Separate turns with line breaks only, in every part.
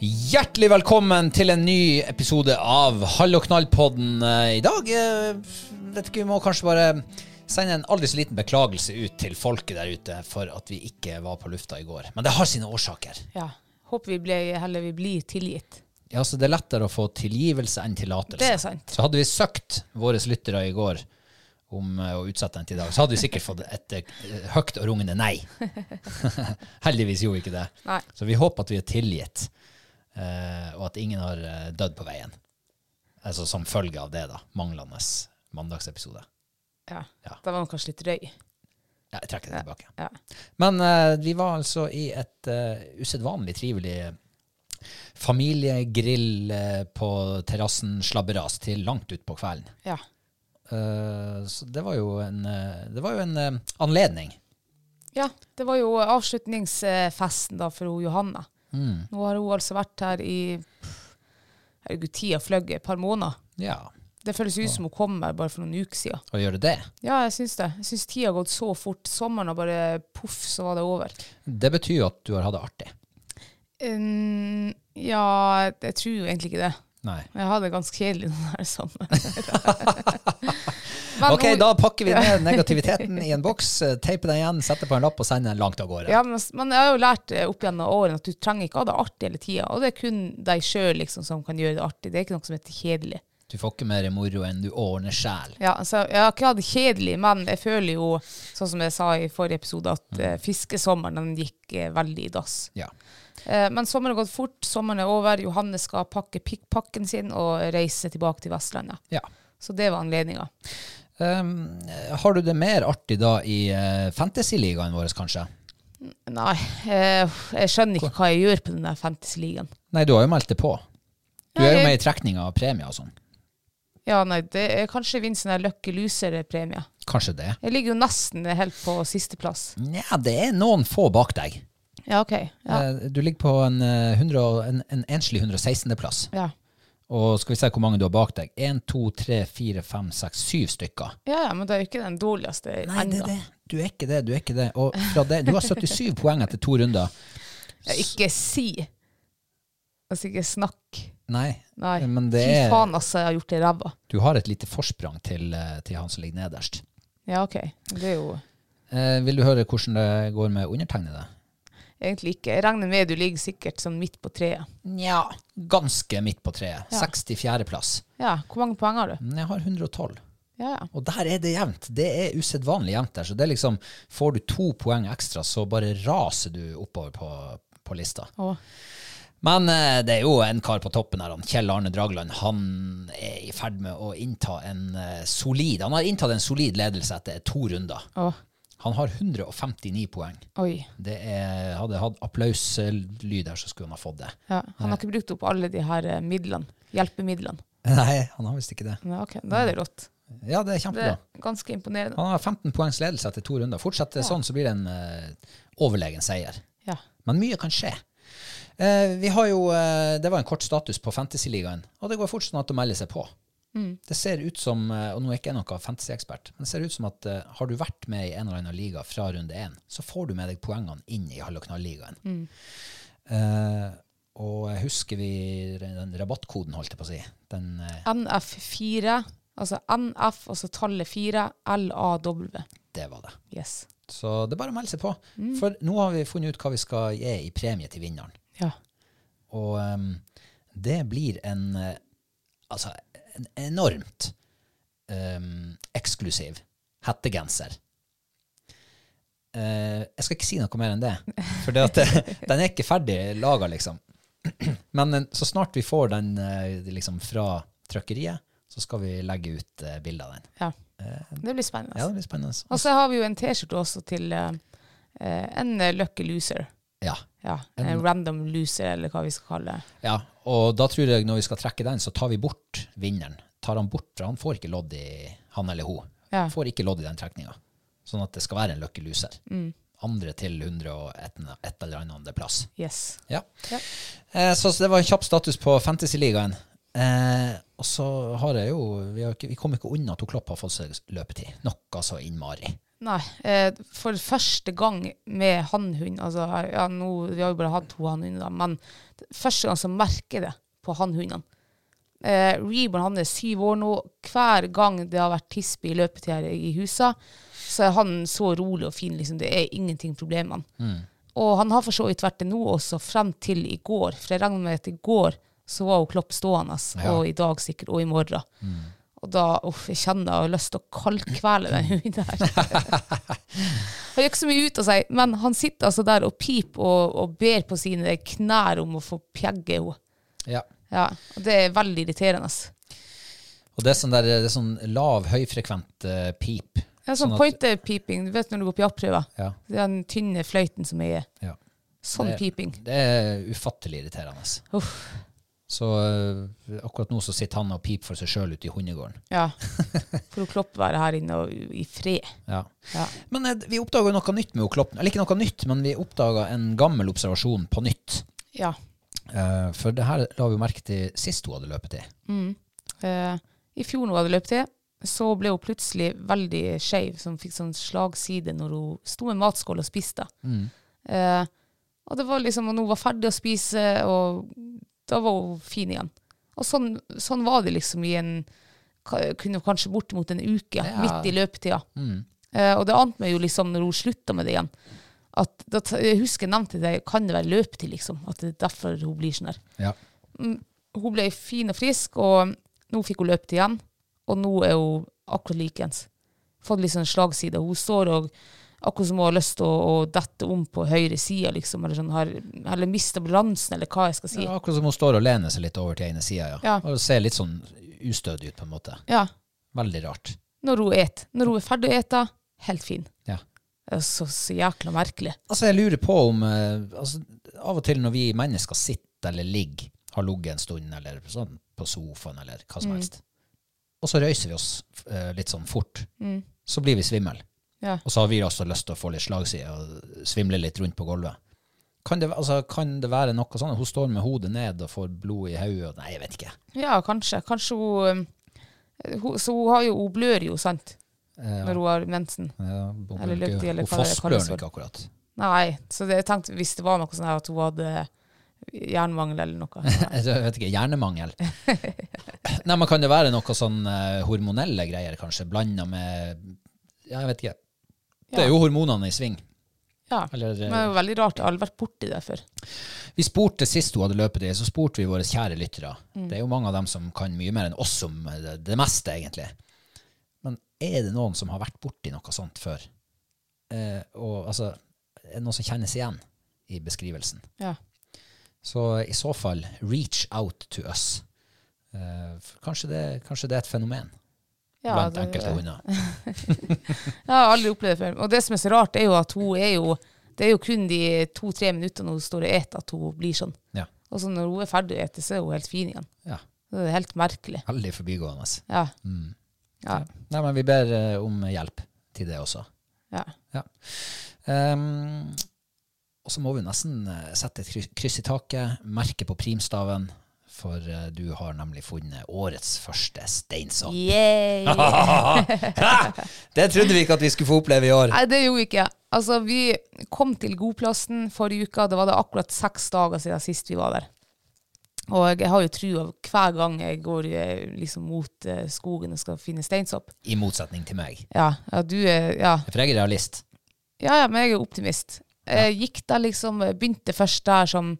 Hjertelig velkommen til en ny episode av Hall og knall-podden eh, i dag. Eh, vet ikke, vi må kanskje bare sende en aldri så liten beklagelse ut til folket der ute for at vi ikke var på lufta i går. Men det har sine årsaker.
Ja. Håper vi ble, heller vi blir tilgitt.
Ja, så Det er lettere å få tilgivelse enn tillatelse.
Det er sant.
Så hadde vi søkt våre lyttere i går om eh, å utsette den til i dag, så hadde vi sikkert fått et eh, høyt og rungende nei. Heldigvis gjorde vi ikke det.
Nei.
Så vi håper at vi er tilgitt, eh, og at ingen har eh, dødd på veien. Altså som følge av det, da. Manglende mandagsepisode.
Ja.
Ja.
Da var han kanskje litt drøy.
Ja, jeg trekker det tilbake.
Ja.
Men eh, vi var altså i et uh, usedvanlig trivelig familiegrill eh, på terrassen Slabberas til langt utpå kvelden.
ja.
Eh, så det var jo en, eh, det var jo en eh, anledning.
Ja, det var jo avslutningsfesten da for hun Johanna.
Mm.
Nå har hun altså vært her i pff, herregud, tida fløy et par måneder.
Ja,
Det føles ut som hun kommer bare for noen uker siden.
å gjøre det.
Ja, jeg syns det. Jeg syns tida har gått så fort. Sommeren har bare poff, så var det over.
Det betyr jo at du har hatt det artig.
Um, ja, jeg tror jo egentlig ikke det.
Nei.
Men jeg har det ganske kjedelig denne sommeren. Men
Ok,
hun-
da pakker vi ned negativiteten i en boks, eh, teiper den igjen, setter på en lapp og sender den langt av gårde.
Ja, men, men jeg har jo lært eh, opp gjennom årene at du trenger ikke ha det artig hele tida. Og det er kun deg sjøl liksom, som kan gjøre det artig. Det er ikke noe som heter kjedelig.
Du får ikke mer moro enn du ordner sjæl.
Ja, altså, jeg har ikke hatt det kjedelig, men jeg føler jo, sånn som jeg sa i forrige episode, at eh, fiskesommeren den gikk eh, veldig i dass.
Ja.
Eh, men sommeren har gått fort, sommeren er over. Johanne skal pakke pikkpakken sin og reise tilbake til Vestlandet.
ja.
Så det var anledninga.
Um, har du det mer artig da i eh, Fantasyligaen vår, kanskje?
Nei, eh, jeg skjønner ikke hva jeg gjør på den der fantasy-ligaen.
Nei, du har jo meldt det på. Du er
Nei.
jo med i trekninga av premier og sånn.
Ja, nei, det er kanskje vinner sånn der Lucky Loser-premie.
Kanskje det.
Jeg ligger jo nesten helt på sisteplass.
Nja, det er noen få bak deg.
Ja, OK. Ja.
Eh, Du ligger på en, eh, 100, og- en, en enslig 116.-plass.
Ja.
Og skal vi se hvor mange du har bak deg? Én, to, tre, fire, fem, seks, syv stykker.
ja, ja, men det er jo ikke den dårligste
Nei, det
ennå.
er det. Du er ikke det. Du er ikke det. Og fra det, du har 77 poeng etter to runder.
Ja, ikke si. Altså, ikke snakk.
Nei,
Nei.
men det
Fy
er
faen, altså, jeg har gjort det ræva.
Du har et lite forsprang til, eh, til han som ligger nederst.
Ja, OK. Det er jo
Eh, vil du høre hvordan det går med undertegnede?
egentlig ikke Jeg regner med du ligger sikkert sånn midt på treet.
Nja, ganske midt på treet. 64.-plass.
Ja, hvor mange poeng har du?
Men jeg har 112.
Ja, ja.
Og der er det jevnt. Det er usedvanlig jevnt der. Så det er liksom, får du to poeng ekstra, så bare raser du oppover på, på lista.
Å.
Men eh, det er jo en kar på toppen her, han Kjell Arne Dragland. Han er i ferd med å innta en eh, solid Han har inntatt en solid ledelse etter to runder.
Å.
Han har 159 poeng.
Oi.
Det er, hadde hatt applauslyd her, så skulle han ha fått det.
Ja. Han har ikke brukt opp alle de her eh, midlene. Hjelpemidlene.
Nei, han har visst ikke det.
Ja, ok, Da er det rått.
Ja, det er
Det
kjempebra.
er ganske imponerende.
Han har 15 poengs ledelse etter to runder. Fortsetter det sånn, så blir det en eh, overlegen seier.
Ja.
Men mye kan skje. Eh, vi har jo, eh, Det var en kort status på Fantasyligaen, og det går fortsatt an å melde seg på. Det ser ut som, eh, og nå er ikke jeg noen fantasyekspert, men det ser ut som at eh, har du vært med i en eller annen liga fra runde én, så får du med deg poengene inn i halv- og knalligaen. Eh, og jeg husker vi den rabattkoden, holdt jeg på å si. Den, eh,
NF4, altså NF, og så tallet 4, LAW.
det var det.
Yes.
Så det er bare å melde seg på. For nå har vi funnet ut hva vi skal gi i premie til vinneren.
Ja.
Og ehm, det blir en eh, Altså, en enormt ehm, eksklusiv hettegenser. Eh, jeg skal ikke si noe mer enn det, for det at det, den er ikke ferdig laga, liksom. Men eh, så snart vi får den eh, liksom fra trykkeriet, så skal vi legge ut uh, bilde av den.
ja. Det blir spennende. altså.
Ja, det blir spennende.
Og så har vi jo en T-skjorte også til eh, eh, en eh, lucky loser.
Ja.
Ja, en random loser, eller hva vi skal kalle det.
ja. Og da tror jeg når vi skal trekke den, så tar vi bort vinneren. Tar Han bort, for han får ikke lodd i han eller hun.
Ja.
Får ikke lodd i den trekninga. Sånn at det skal være en lucky loser.
Mm.
Andre til 100 og et, et eller annet plass.
Yes.
Ja.
Ja.
Eh, så, så det var en kjapp status på Fantasyligaen. Eh, og så har jeg jo Vi, har ikke, vi kom ikke unna at hun Klopp har fått seg løpetid. Noe så innmari.
Nei, eh, for første gang med hannhund, altså ja, nå, vi har jo bare hatt to hannhunder, da, men t- første gang så merker jeg det på hannhundene. Eh, Reborn han er syv år nå. Hver gang det har vært tispe i løpetid her i huset, så er han så rolig og fin. liksom Det er ingenting problemene. Og han har for så vidt vært det nå også, frem til i går. For jeg regner med at i går så var jo Klopp stående, altså, og i dag sikkert, og i morgen. Og da uff, jeg kjenner jeg har lyst til å kaldkvele den hunden her. Han gjør ikke så mye ut av seg, men han sitter altså der og piper og, og ber på sine knær om å få pjegge henne.
Ja.
Ja, og det er veldig irriterende. ass.
Og det er sånn, der, det er sånn lav, høyfrekvent eh, pip.
Det er sånn
at-
pointerpiping, du vet når du går på jaktprøver.
Ja.
Det er Den tynne fløyten som er
ja.
Sånn piping.
Det er ufattelig irriterende.
Uff.
Så eh, akkurat nå så sitter han og piper for seg sjøl ute i hundegården.
Ja. For å kloppe være her inne og, i fred.
Ja.
Ja.
Men eh, vi oppdaga noe nytt med Klopp. Eller ikke noe nytt, men vi oppdaga en gammel observasjon på nytt.
ja.
Eh, for det her la vi jo merke til sist hun hadde løpet i.
Eh, I fjor når hun hadde løpt til, så ble hun plutselig veldig skeiv, som fikk sånn slagside når hun sto med matskål og spiste. Eh, og det var liksom, og når hun var ferdig å spise, og da var hun fin igjen. Og sånn, sånn var det liksom i en ka- kunne kanskje bortimot en uke, midt i løpetida. Eh, og det ante meg jo liksom når hun slutta med det igjen. At, da, t- jeg husker jeg nevnte det, kan det være løpetid, liksom? At det er derfor hun blir sånn her
Ja.
hun ble fin og frisk, og nå fikk hun løpt igjen. Og nå er hun akkurat likeens. Fått litt sånn slagside. Hun står og akkurat som hun har lyst til å, å dette om på høyre sida, liksom, eller, sånn, har, eller miste balansen, eller hva jeg skal si.
Det er akkurat som hun står og lener seg litt over til ene sida. Ja.
Ja.
Og ser litt sånn ustødig ut, på en måte.
Ja.
Veldig rart.
Når hun et. Når hun er ferdig å ete, helt fin.
Ja.
Det er så, så jækla merkelig.
Altså, jeg lurer på om eh, altså, Av og til når vi mennesker sitter eller ligger, har ligget en stund, eller sånn på sofaen, eller hva som helst, og så røyser vi oss eh, litt sånn fort, så blir vi svimmel.
Ja.
Og så har vi også lyst til å få litt slagside og svimle litt rundt på gulvet. Kan det, altså, kan det være noe sånn? Hun står med hodet ned og får blod i hodet. og- Nei, jeg vet ikke.
Ja, kanskje. Kanskje hun, øhm, hun Så hun, har jo, hun blør jo, sant? Når hun har mensen.
Ja, hun
Eller
bruker-
lukter, eller
hun
hva det
fossblør
kalles for.
ikke akkurat.
Nei, så det, jeg tenkte hvis det var noe sånn her at hun hadde jernmangel eller noe. Nei.
Jeg vet ikke, hjernemangel. Nei, men kan det være noe sånn eh, hormonelle greier, kanskje, blanda med Ja, jeg vet ikke. Det er jo hormonene i sving.
Ja.
Eller, eh,
Men det er jo veldig rart. Jeg har aldri vært borti det før.
Vi spurte sist hun hadde løpet det, så spurte vi våre kjære lyttere.
Mm.
Det er jo mange av dem som kan mye mer enn oss om eh, det, det meste, egentlig. Men er det noen som har vært borti noe sånt før? Eh, og altså, er det noen som kjennes igjen i beskrivelsen.
Ja.
Så i så fall, reach out to us. Eh, for kanskje, det, kanskje det er et fenomen
Ja,
blant
det-
enkelte hunder.
Jeg har aldri opplevd det før. Og det som er så rart, er jo at hun er jo Det er jo kun de to-tre minuttene hun står og eter, at hun blir sånn.
Ja.
Og så når hun er ferdig å ete, så er hun helt fin igjen.
ja.
Det er helt merkelig.
Veldig forbigående. Mm.
Ja. Ja.
Nei, men vi ber eh, om hjelp til det også.
ja.
Ja. Ehm, og så må vi nesten eh, sette et kryss- kryss i taket, merke på primstaven, for eh, du har nemlig funnet årets første steinsopp.
Yay!
Det trodde vi ikke at vi skulle få oppleve i år.
Nei, det gjorde ikke jeg. Altså, vi kom til Godplassen forrige uke. Det var det akkurat seks dager siden sist vi var der. Og jeg har jo trua hver gang jeg går eh, liksom mot eh, skogen og skal finne steinsopp.
I motsetning til meg.
Ja, ja du er ja.
For jeg er realist.
ja, ja, men jeg er optimist. Jeg gikk der liksom Begynte først der som,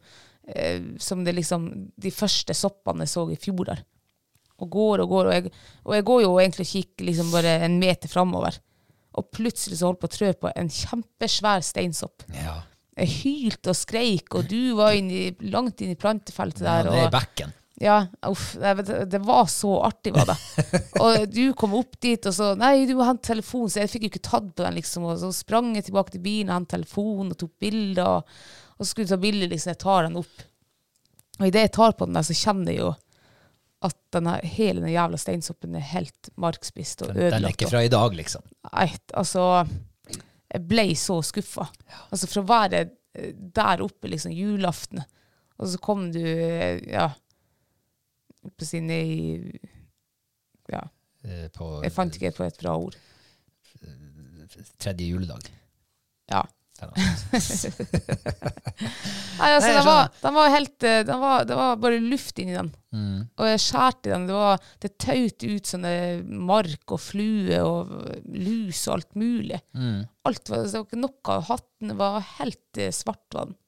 eh, som det liksom de første soppene jeg så i fjor der. Og går og går, og jeg, og jeg går jo egentlig og kikker liksom bare en meter framover. Og plutselig så holdt på å trø på en kjempesvær steinsopp.
Ja.
Jeg hylte og skreik, og du var inn i, langt inn i plantefeltet
Ja,
der.
det er i
og,
bekken.
ja, uff, nei, vet du, det var så artig, var det. Og du kom opp dit, og så Nei, du må hente telefonen, så jeg fikk jo ikke tatt på den, liksom. Og så sprang jeg tilbake til bilen og hentet telefonen og tok bilder. Og, og så skulle du ta bilde, liksom. Jeg tar den opp. Og idet jeg tar på den, der, så kjenner jeg jo at denne, hele den jævla steinsoppen er helt markspist og
Den, den er
ødelagt.
ikke
og-
fra i dag, liksom.
Nei, altså Jeg ble så skuffa. Altså, fra å være eh, der oppe liksom julaften, og så kom du eh, Ja. På sine Ja,
eh, På
jeg fant ikke på et bra ord.
tredje juledag.
Ja.
Eller noe sånt.
Nei, altså,
Nei, jeg
den var, den var helt eh, den var, Det var bare luft inni den.
Mm.
Og jeg skjærte i den. Det, var, det taut ut sånne mark og flue og lus og alt mulig.
Mm.
Alt var, det var ikke noe av hatten. Det var helt eh, svart. Var den.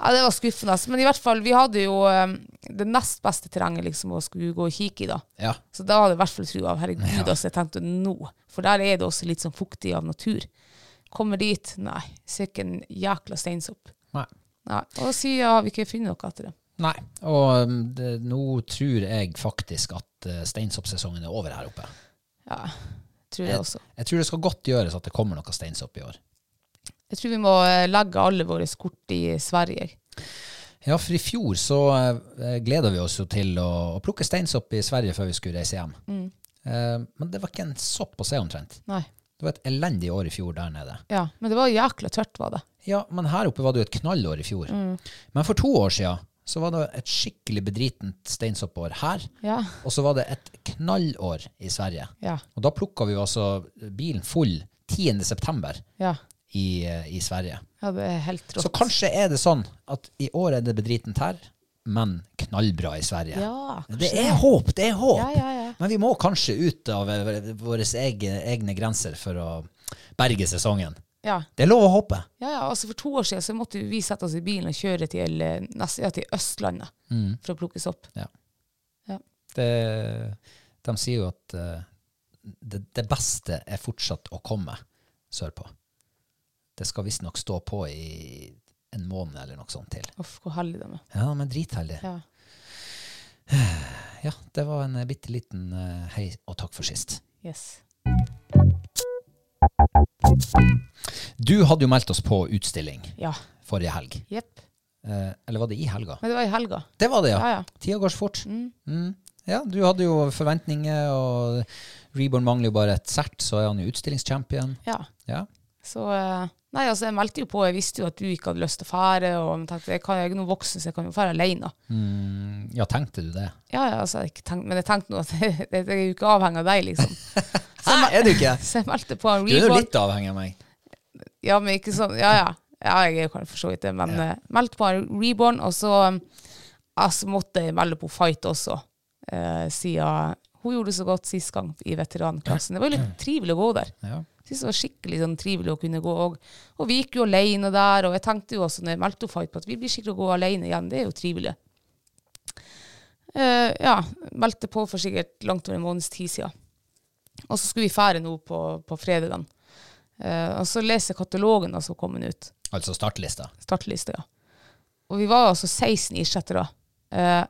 Ja, det var skuffende. altså. Men i hvert fall, vi hadde jo eh, det nest beste terrenget liksom, å skulle gå og kikke i. da.
Ja.
Så da hadde jeg i hvert fall trua. Herregud, altså, jeg tenkte nå. For der er det også litt sånn fuktig av natur. Kommer dit, nei, ser ikke en jækla steinsopp.
Nei.
Nei. Og sier ja, vi ikke funnet noe etter det.
Nei. Og um, det, nå tror jeg faktisk at eh, steinsoppsesongen er over her oppe.
Ja, tror jeg også.
Jeg tror det skal godt gjøres at det kommer noe steinsopp i år.
Jeg tror vi må eh, legge alle våre kort i Sverige.
Ja, for i fjor så eh, gleda vi oss jo til å, å plukke steinsopp i Sverige før vi skulle reise hjem. Eh, men det var ikke en sopp å se omtrent.
Nei.
Det var et elendig år i fjor der nede.
Ja, men det var jækla tørt, var det.
Ja, men her oppe var det jo et knallår i fjor. Men for to år siden så var det et skikkelig bedritent steinsoppår her.
Ja.
Og så var det et knallår i Sverige.
Ja.
Og da plukka vi jo altså bilen full 10. september
Ja,
i, eh, i Sverige.
ja det er helt rått.
Så kanskje er det sånn at i år er det bedritent her, men knallbra i Sverige.
Ja, kanskje
det er håp, det er håp.
Ja, ja, ja.
Men vi må kanskje ut av eh, våre egne, egne grenser for å berge sesongen.
Ja.
Det er lov å håpe.
Ja, ja, altså For to år siden så måtte vi sette oss i bilen og kjøre til, eh, nesten- ja, til Østlandet
Mm.
for å plukke sopp.
Ja.
Ja.
Det, de sier jo at eh, det, det beste er fortsatt å komme sørpå. Det skal visstnok stå på i en måned eller noe sånt til.
Uff, hvor heldig de er.
Ja, men dritheldig.
Ja.
Ja, det var en eh, bitte liten eh, hei og takk for sist.
Yes.
Du hadde jo meldt oss på utstilling
Ja.
forrige helg.
Jepp.
Eh, eller var det i helga?
Men det var i helga.
Det var det, ja.
Ja, ja.
Tida går så fort. Mm. Ja, du hadde jo forventninger, og Reborn mangler jo bare et sert, så er han jo utstillingschampion.
Ja.
Ja.
Så eh, Nei, altså, jeg meldte jo på. Jeg visste jo at du ikke hadde lyst til å fære, og jeg tenkte jeg, kan, jeg er nå voksen, så jeg kan jo fære alene.
Mm, ja, tenkte du det?
Ja, ja, altså, jeg har ikke tenkt, men jeg tenkte nå at jeg, er jo ikke avhengig av deg, liksom.
Hæ, er du ikke?
Så jeg meldte på en
Du er jo
reborn.
litt avhengig av meg.
Ja, men ikke sånn, ja, ja. Ja, jeg er jo kanskje for så vidt det, men eh, meldte på en reborn, og så eh, altså, måtte jeg melde på fight også, eh, siden hun gjorde det så godt sist gang i veteranklassen. Det var jo litt trivelig å gå der.
Ja.
syntes det var skikkelig sånn, trivelig å kunne gå. Og, og vi gikk jo alene der, og jeg tenkte jo også når jeg meldte opp fight på at vi blir sikkert å gå alene igjen, det er jo trivelig. Eh, ja, meldte på for sikkert langt over en måneds tid siden. Og så skulle vi fære nå på, på fredagen. Eh, og så leser jeg katalogen da som kom ut.
Altså startlista.
startliste, ja. Og vi var altså 16 ishettere. Eh,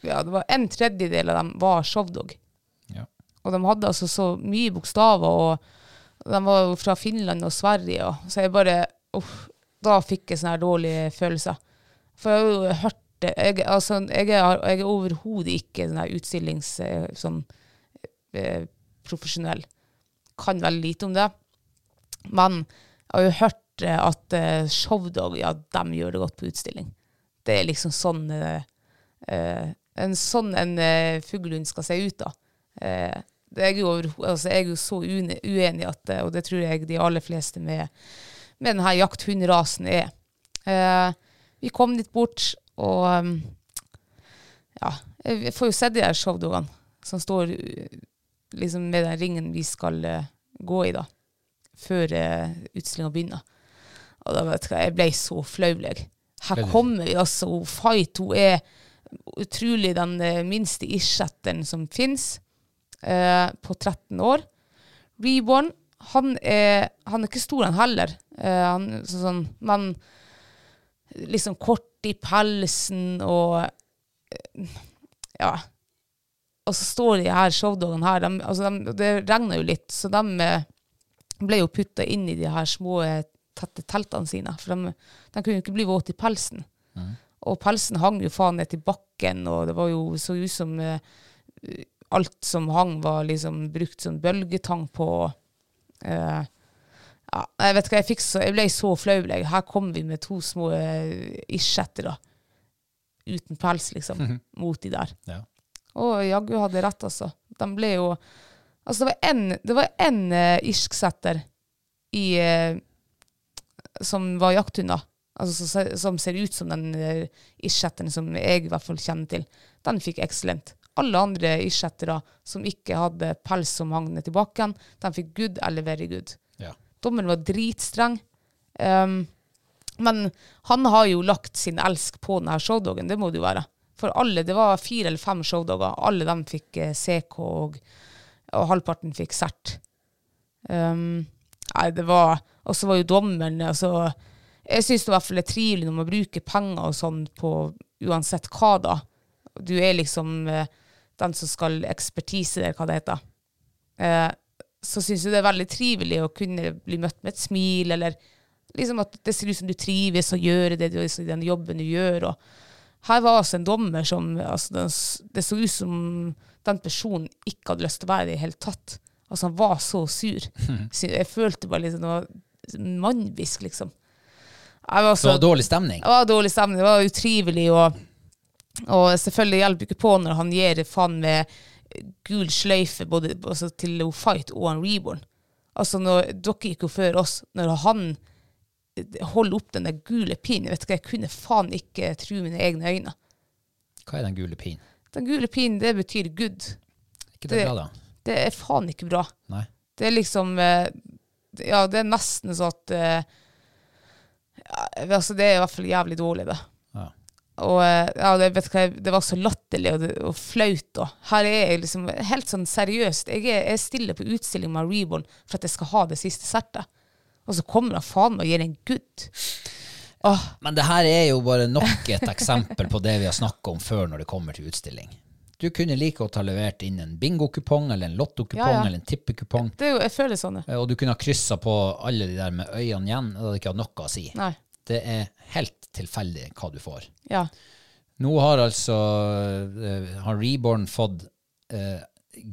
ja, det var en tredjedel av dem var showdog.
Ja.
Og de hadde altså så mye bokstaver, og de var jo fra Finland og Sverige, og så jeg bare uff, Da fikk jeg sånne her dårlige følelser. For jeg har jo hørt det Jeg, altså, jeg, er, jeg er overhodet ikke den her utstillings... eh, Sånn, eh, profesjonell. Kan veldig lite om det. Men jeg har jo hørt eh, at eh, Showdog ja, de gjør det godt på utstilling. Det er liksom sånn eh, eh, en sånn en eh, fuglehund skal se ut, da. Eh, det er jo overho- altså, jeg er jo så uenig, uenig at eh, Og det tror jeg de aller fleste med, med denne jakthundrasen er. Eh, vi kom litt bort, og eh, ja Jeg får jo sett de her showdogene som står eh, liksom med den ringen vi skal eh, gå i, da før uh, utstillinga begynner. Og da vet du hva, jeg ble så flau. jeg. Her
Veldig.
kommer vi, altså. Hun Fight hun er utrolig den eh, minste isjetteren som fins, på 13 år. Reborn, han er, han er ikke stor, han heller. Eh, han, er sånn, sånn, men liksom kort i pelsen og eh, Ja. Og så står de her showdogene her, de, altså de, det regner jo litt, så de eh, ble jo putta inn i de her små eh, tette teltene sine. For de, de kunne jo ikke bli våte i pelsen. Og pelsen hang jo faen ned til bakken, og det var jo så ut som eh, alt som hang, var liksom brukt som bølgetang på. Eh, ja, jeg vet ikke, jeg, fikk så, jeg ble så flau. jeg. Her kom vi med to små eh, isjettere uten pels, liksom, mot de der.
Ja.
Og jaggu hadde rett, altså. De ble jo Altså, det var en- det var én uh, irsksetter i eh, Som var jakthunder. Altså, som, se- som ser ut som den uh, irsksetteren som jeg i hvert fall kjenner til. Den fikk eksellent. Alle andre irsksettere som ikke hadde pels som hang ned til bakken, de fikk good eller very good.
Ja.
Dommeren var dritstreng. Ehm, men han har jo lagt sin elsk på denne showdogen, det må det jo være. For alle, det var fire eller fem showdoger, alle dem fikk eh, CK, og, og halvparten fikk sert. Ehm, nei, det var Og så var jo dommeren altså, Jeg syns i hvert fall det er trivelig når man bruker penger og sånn på uansett hva, da. Du er liksom eh, den som skal ekspertise der, hva det heter. Eh, så syns jeg det er veldig trivelig å kunne bli møtt med et smil, eller liksom at det ser ut som du trives og gjør det, du- altså den jobben du gjør. Og her var altså en dommer som altså den, s- Det så ut som den personen ikke hadde lyst til å være der i det hele tatt. Altså Han var så sur. Så jeg følte bare liksom, det var mannbisk, liksom. Jeg var
Så
så-
dårlig stemning.
det var dårlig stemning, det var utrivelig, og, og selvfølgelig hjelper ikke på når han gir faen med gul sløyfe både altså, til Leo Fight og han Reborn. Altså, når, dere gikk jo før oss, når han holder opp den der gule pinnen, vet du hva, jeg kunne faen ikke tro mine egne øyne.
Hva er den gule pinen?
Den gule pinnen, det betyr good.
Ikke det
Det-
bra, da?
Det er faen ikke bra.
Nei.
Det er liksom eh, det- Ja, det er nesten sånn at eh, ja, Altså, det er i hvert fall jævlig dårlig, det.
Ja.
Og eh, ja, det, vet du hva, det var så latterlig og, det, og flaut. Da. Her er jeg liksom helt sånn seriøst. Jeg er, jeg stiller på utstilling med Reborn for at jeg skal ha det siste settet. Og så kommer han faen meg og gir en good. Åh,
Men det her er jo bare nok et eksempel på det vi har snakka om før når det kommer til utstilling. Du kunne like godt ha levert inn en bingokupong eller en lottokupong
Ja, ja.
eller en tippekupong, eh,
det er jo, jeg føler sånn. det.
og du kunne ha kryssa på alle de der med øynene igjen. Det hadde ikke hatt noe å si.
Nei.
Det er helt tilfeldig hva du får.
Ja.
Nå har altså eh, har Reborn fått eh,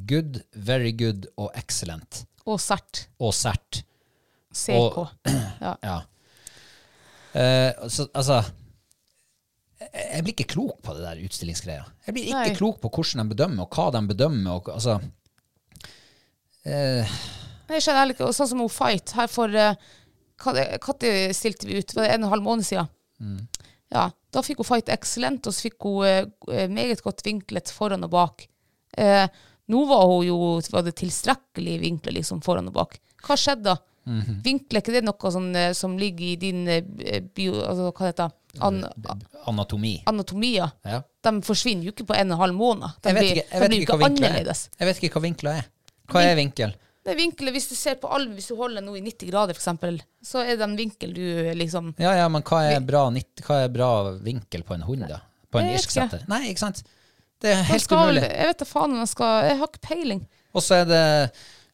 good, very good og excellent
Og sert.
og cert.
CK.
Og- Ja. Eh, så, altså jeg, jeg blir ikke klok på det der utstillingsgreia. Jeg blir ikke
Nei.
klok på hvordan de bedømmer, og hva de bedømmer. Og, altså,
Nei, Jeg skjønner heller ikke. Og sånn som hun Fight her for eh, hva det- Når stilte vi ut? Var det en og en halv måned siden?
Mm.
Ja. Da fikk hun Fight excellent, og så fikk hun eh, meget godt vinklet foran og bak. Eh, nå var hun jo var det tilstrekkelig vinklet liksom, foran og bak. Hva skjedde da?
Mhm.
Vinkler ikke det noe sånn, eh, som ligger i din eh, bio... Altså, hva det heter An
anatomi.
Anatomia.
Ja.
De forsvinner jo ikke på en og en halv måned. De
Jeg vet
blir-
ikke,
de
jeg vet
blir
ikke
jo
hva
ikke
vinkla er.
annerledes.
Jeg vet ikke hva vinkla er. Hva er vinkel?
Det er vinkelet, Hvis du ser på alven, hvis du holder nå i 90 grader f.eks., så er det en vinkel du liksom
Ja, ja, men hva er bra, nitt- hva er bra vinkel på en hund, da? På en
Jeg vet
irsk
ikke.
setter? Nei, ikke sant? Det er
Man
helt
skal,
umulig.
Jeg vet da faen om jeg skal Jeg har ikke peiling.
Og så er det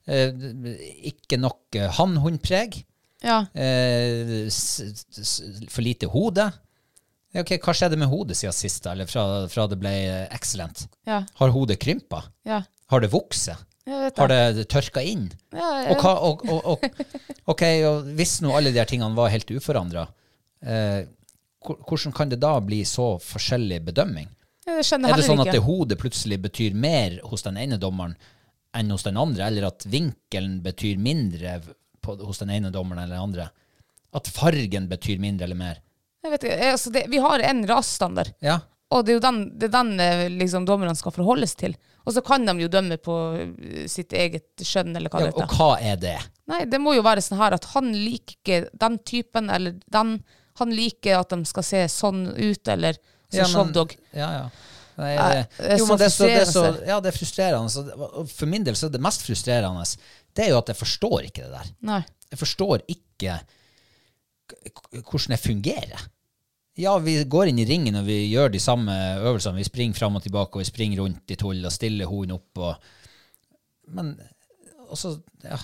eh, ikke nok eh, hann-hund-preg.
Ja.
Eh, s- s- for lite hode. Ja, Ok, Hva skjedde med hodet siden sist, da, eller fra, fra det ble eh, excellent?
Ja.
Har hodet krympa?
Ja.
Har det vokst?
Jeg vet
Har det tørka inn?
Ja,
Og, hva, og, og, og, ok, og hvis nå alle de her tingene var helt uforandra, eh, hvor- hvordan kan det da bli så forskjellig bedømming?
jeg, jeg skjønner
Er det
heller
sånn at
ikke.
det hodet plutselig betyr mer hos den ene dommeren enn hos den andre, eller at vinkelen betyr mindre på, hos den ene dommeren eller den andre? At fargen betyr mindre eller mer?
Jeg vet ikke, jeg- altså det, vi har en rasstandard,
Ja,
og det er jo den, det er den eh, liksom, dommerne skal forholdes til. Og så kan de jo dømme på eh, sitt eget skjønn, eller hva
ja
det
og
heter.
hva er det?
Nei, det må jo være sånn her at han liker ikke den typen, eller den. Han liker at de skal se sånn ut, eller sånn som
Ja, men-
showdog.
Ja, ja. Nei,
Nei,
det,
det er
jo,
så
men det, er så, det er så,
frustrerende.
ja, det er frustrerende. så det- og For min del så er det mest frustrerende det er jo at jeg forstår ikke det der.
Nei.
Jeg forstår ikke k- k- hvordan jeg fungerer. Ja, vi går inn i ringen og vi gjør de samme øvelsene. Vi springer fram og tilbake og vi springer rundt i tull og stiller hunden opp. Og, men også ja.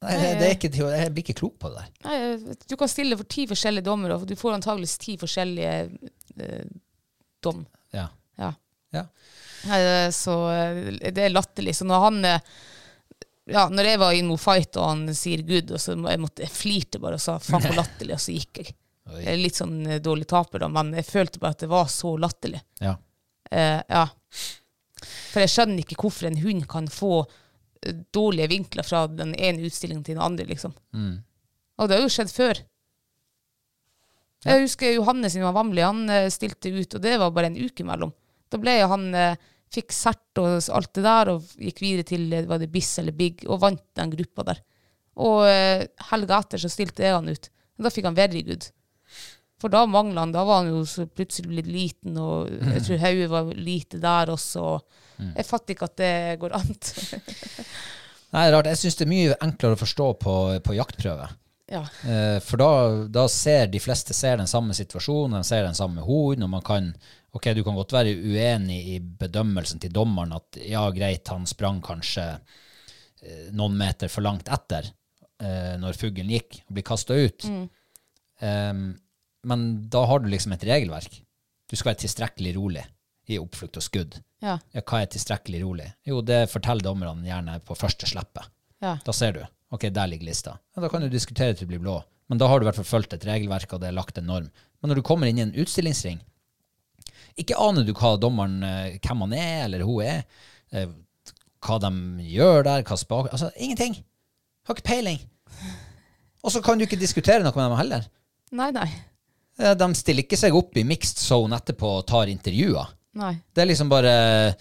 Nei, det, det er ikke, til å- jeg blir ikke klok på det der.
Nei, jeg vet- du kan stille for ti forskjellige dommer, og du får antageligvis ti forskjellige eh, dom.
Ja.
Ja.
ja.
Nei, det er så eh, Det er latterlig. Så når han eh, Ja, når jeg var i noe fight, og han sier 'good', og så må- jeg måtte jeg flirte bare og sa 'faen så latterlig', og så gikk jeg.
Oi.
Jeg er litt sånn eh, dårlig taper, da, men jeg følte bare at det var så latterlig.
ja.
Eh, ja. For jeg skjønner ikke hvorfor en hund kan få eh, dårlige vinkler fra den ene utstillingen til den andre, liksom. Og det har jo skjedd før. Jeg husker Johannes sin var vamlig, han eh, stilte ut, og det var bare en uke imellom. Da ble han eh, fikk sert og s- alt det der, og gikk videre til eh, var det Biss eller Big, og vant den gruppa der. Og eh, helga etter så stilte jeg han ut. Og da fikk han very good. For da mangla han, da var han jo så plutselig blitt liten, og jeg tror hodet var lite der også. og Jeg fatter ikke at det går an.
Nei, det er rart. Jeg syns det er mye enklere å forstå på, på jaktprøve.
ja.
Eh, For da, da ser de fleste ser den samme situasjonen, de ser den samme horden, og man kan Ok, du kan godt være uenig i bedømmelsen til dommeren at ja, greit, han sprang kanskje eh, noen meter for langt etter eh, når fuglen gikk og blir kasta ut. Eh, men da har du liksom et regelverk. Du skal være tilstrekkelig rolig i oppflukt og skudd.
Ja.
Ja, hva er tilstrekkelig rolig? Jo, det forteller dommerne gjerne på første slippet.
Ja.
Da ser du. Ok, der ligger lista. Ja, da kan du diskutere til det blir blå. Men da har du i hvert fall fulgt et regelverk, og det er lagt en norm. Men når du kommer inn i en utstillingsring, ikke aner du hva dommeren, eh, hvem han er, eller hun er, eh, hva de gjør der, hva spak... Altså, ingenting. Har ikke peiling. Og så kan du ikke diskutere noe med dem heller.
Nei, nei.
Eh, De stiller ikke seg opp i mixed zone etterpå og tar intervjuer.
Nei.
Det er liksom bare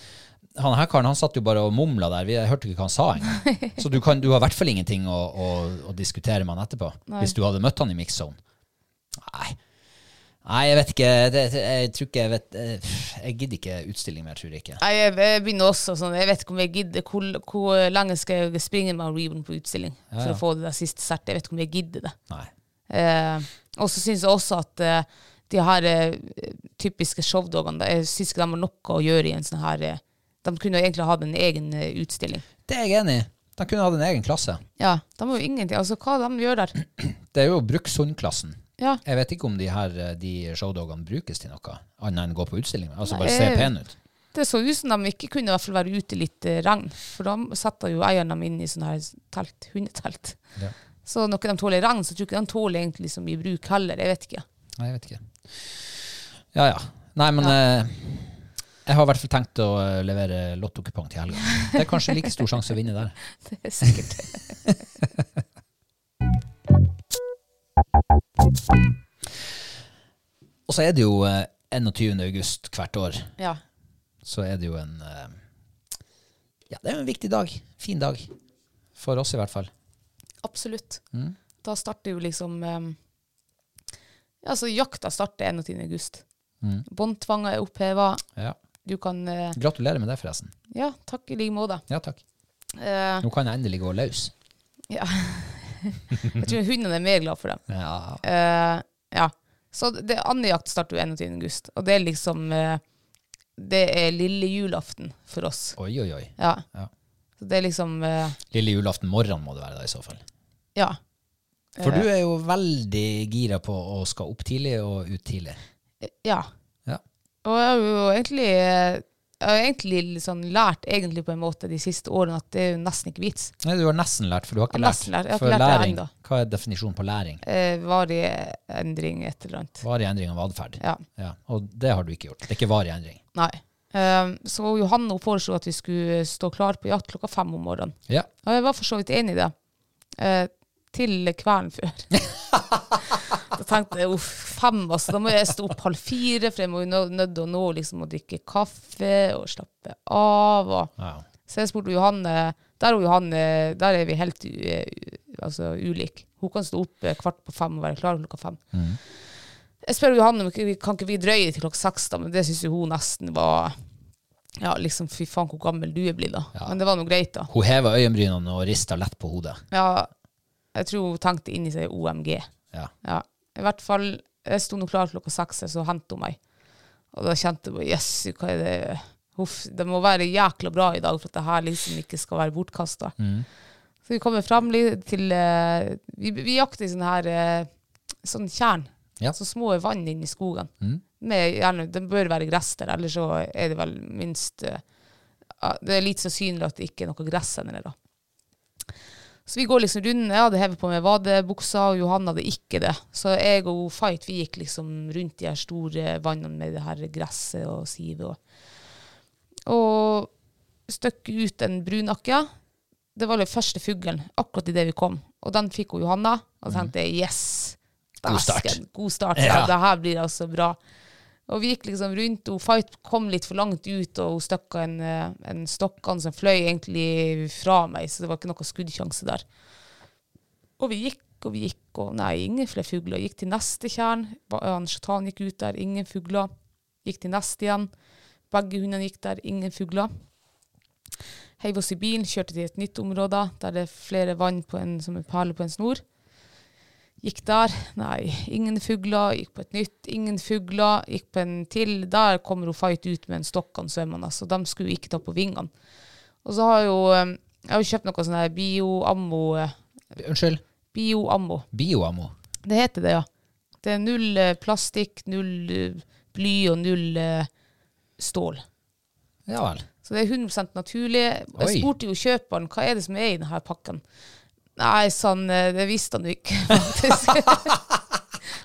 Han her karen han satt jo bare og mumla der. Vi- Jeg hørte ikke hva han sa engang. Så du, kan, du har i hvert fall ingenting å, å, å diskutere med han etterpå.
Nei.
Hvis du hadde møtt han i mix zone. Nei. Nei, jeg vet ikke. Det, det- jeg tror ikke jeg vet eh, Jeg gidder ikke utstilling mer, tror jeg ikke.
Nei, jeg, jeg begynner også sånn. Jeg vet ikke om jeg gidder. Hvor, hvor lenge skal jeg springe med Reborn på utstilling for å få det der siste sertet? Jeg vet ikke om jeg gidder det.
Nei.
Eh, og så syns jeg også at eh, de her eh, typiske showdogene, da, jeg syns ikke de har noe å gjøre i en sånn her eh, De kunne jo egentlig hatt en egen eh, utstilling.
Det er jeg enig i. De kunne hatt en egen klasse.
Ja, de har jo ingenting. Altså, hva de gjør der?
Det er jo brukshundklassen.
Ja.
Jeg vet ikke om de her eh, de showdogene brukes til noe annet enn å gå på utstilling. Altså bare
Nei,
se
jeg-
pen ut.
Det så ut som de ikke kunne i hvert fall være ute i litt eh, regn, for da setter jo eierne dem inn i sånne her telt, hundetelt.
Ja.
Så når ikke de tåler regn, så tror jeg ikke de tåler egentlig så mye bruk heller. Jeg vet ikke.
Nei, jeg vet ikke. Ja, ja. Nei, men eh, jeg har i hvert fall tenkt å eh, levere lottokupong til helga. Det er kanskje like stor sjanse å vinne der.
Det er sikkert.
Og så er det jo eh, 21. august hvert år.
Ja.
Så er det jo en eh, Ja, det er jo en viktig dag. Fin dag. For oss, i hvert fall.
Absolutt. Da starter jo liksom um, ja, Altså, jakta starter 21. august. Båndtvanger er oppheva.
Ja.
Du kan eh,
Gratulerer med det, forresten.
Ja, takk i like måte.
Ja, takk.
Eh,
Nå kan jeg endelig gå løs.
ja. jeg tror hundene er mer glad for det.
Ja.
Eh, ja. Så det, andejakt starter jo 21. august, og det er liksom eh, Det er lille julaften for oss.
Oi, oi, oi.
Ja.
Ja.
Så det er liksom eh,
Lille julaften morgen må det være da, i så fall.
Ja.
For du er jo veldig gira på å skal opp tidlig og ut tidlig.
Ja.
Ja.
Og jeg har jo egentlig eh, jeg har egentlig liksom lært egentlig på en måte de siste årene at det er jo nesten ikke vits.
Nei, du har nesten lært, for du har ikke
Jeg har
lært.
nesten lært. Jeg har
For
ikke lært det
læring,
ennå.
hva er definisjonen på læring?
Eh, varig endring, et eller annet.
Varig endring av atferd.
Ja.
Ja, og det har du ikke gjort. Det er ikke varig endring.
Nei. Eh, så Johanne hun foreslo at vi skulle stå klar på jakt klokka fem om morgenen.
Ja.
Og jeg var for så vidt enig i det. Eh, til kvelden før. da tenkte jeg uff, fem, altså. Da må jeg stå opp halv fire, for jeg må jo nå- nødt til å nå liksom, å drikke kaffe og slappe av. Og.
ja.
Så jeg spurte Johanne Der, og Johanne, der er vi helt u, u- altså, ulike. Hun kan stå opp eh, kvart på fem og være klar klokka fem. Jeg spør Johanne om ikke vi- kan ikke vi drøye til klokka seks, da, men det syns jo hun nesten var ja, liksom, Fy faen, hvor gammel du er blitt, da. Men det var nå greit, da.
Hun hever øyenbrynene og rister lett på hodet.
Ja, jeg tror hun tenkte inni seg OMG.
Ja.
Ja. I hvert fall, jeg sto nå klar klokka seks, så hentet hun meg. Og da kjente jeg bare, jøss, hva er det? Huff, det må være jækla bra i dag, for at det her liksom ikke skal være bortkastet. Så vi kommer frem li- til, eh, vi, vi jakter i sånn her, eh, sånn kjern,
Ja.
så små vann inne i skogen. Med, gjerne, det bør være gress der, ellers så er det vel minst, eh, ja, det er litt sannsynlig at det ikke er noe gress henne da. Så vi går liksom runden. Jeg hadde hevet på meg vadebuksa, og Johan hadde ikke det. Så jeg og hun Fight vi gikk liksom rundt de her store vannene med det her gresset og sivet. Og, og støkk ut en brunakke. Det var den første fuglen akkurat idet vi kom. Og den fikk hun Johanna, og så tenkte jeg yes!
God start.
dæsken, God start.
Ja.
Ja. Det her blir altså bra. Og vi gikk liksom rundt, og Fight kom litt for langt ut, og hun støkka en, eh, en stokkene som fløy egentlig fra meg, så det var ikke noe skuddsjanse der. Og vi gikk og vi gikk, og nei, ingen flere fugler. Gikk til neste tjern, ba- eh, han Shaitan gikk ut der, ingen fugler. Gikk til neste igjen, begge hundene gikk der, ingen fugler. Heiv oss i bilen, kjørte til et nytt område, der det er flere vann på en, som en perle på en snor. Gikk der, nei, ingen fugler. Gikk på et nytt, ingen fugler. Gikk på en til. Der kommer hun Fight ut med en stokk av svømmende, så de skulle ikke ta på vingene. Og så har jo eh, jeg har jo kjøpt noe sånn her bio-ammo. eh,
Unnskyld.
Bio-ammo.
Bioammo.
Det heter det, ja. Det er null eh, plastikk, null eh, bly og null eh, stål.
Ja vel.
Så det er 100 naturlig. Jeg
Oi.
spurte jo kjøperen hva er det som er i denne pakken. Nei, sånn, eh, det visste han jo ikke, faktisk.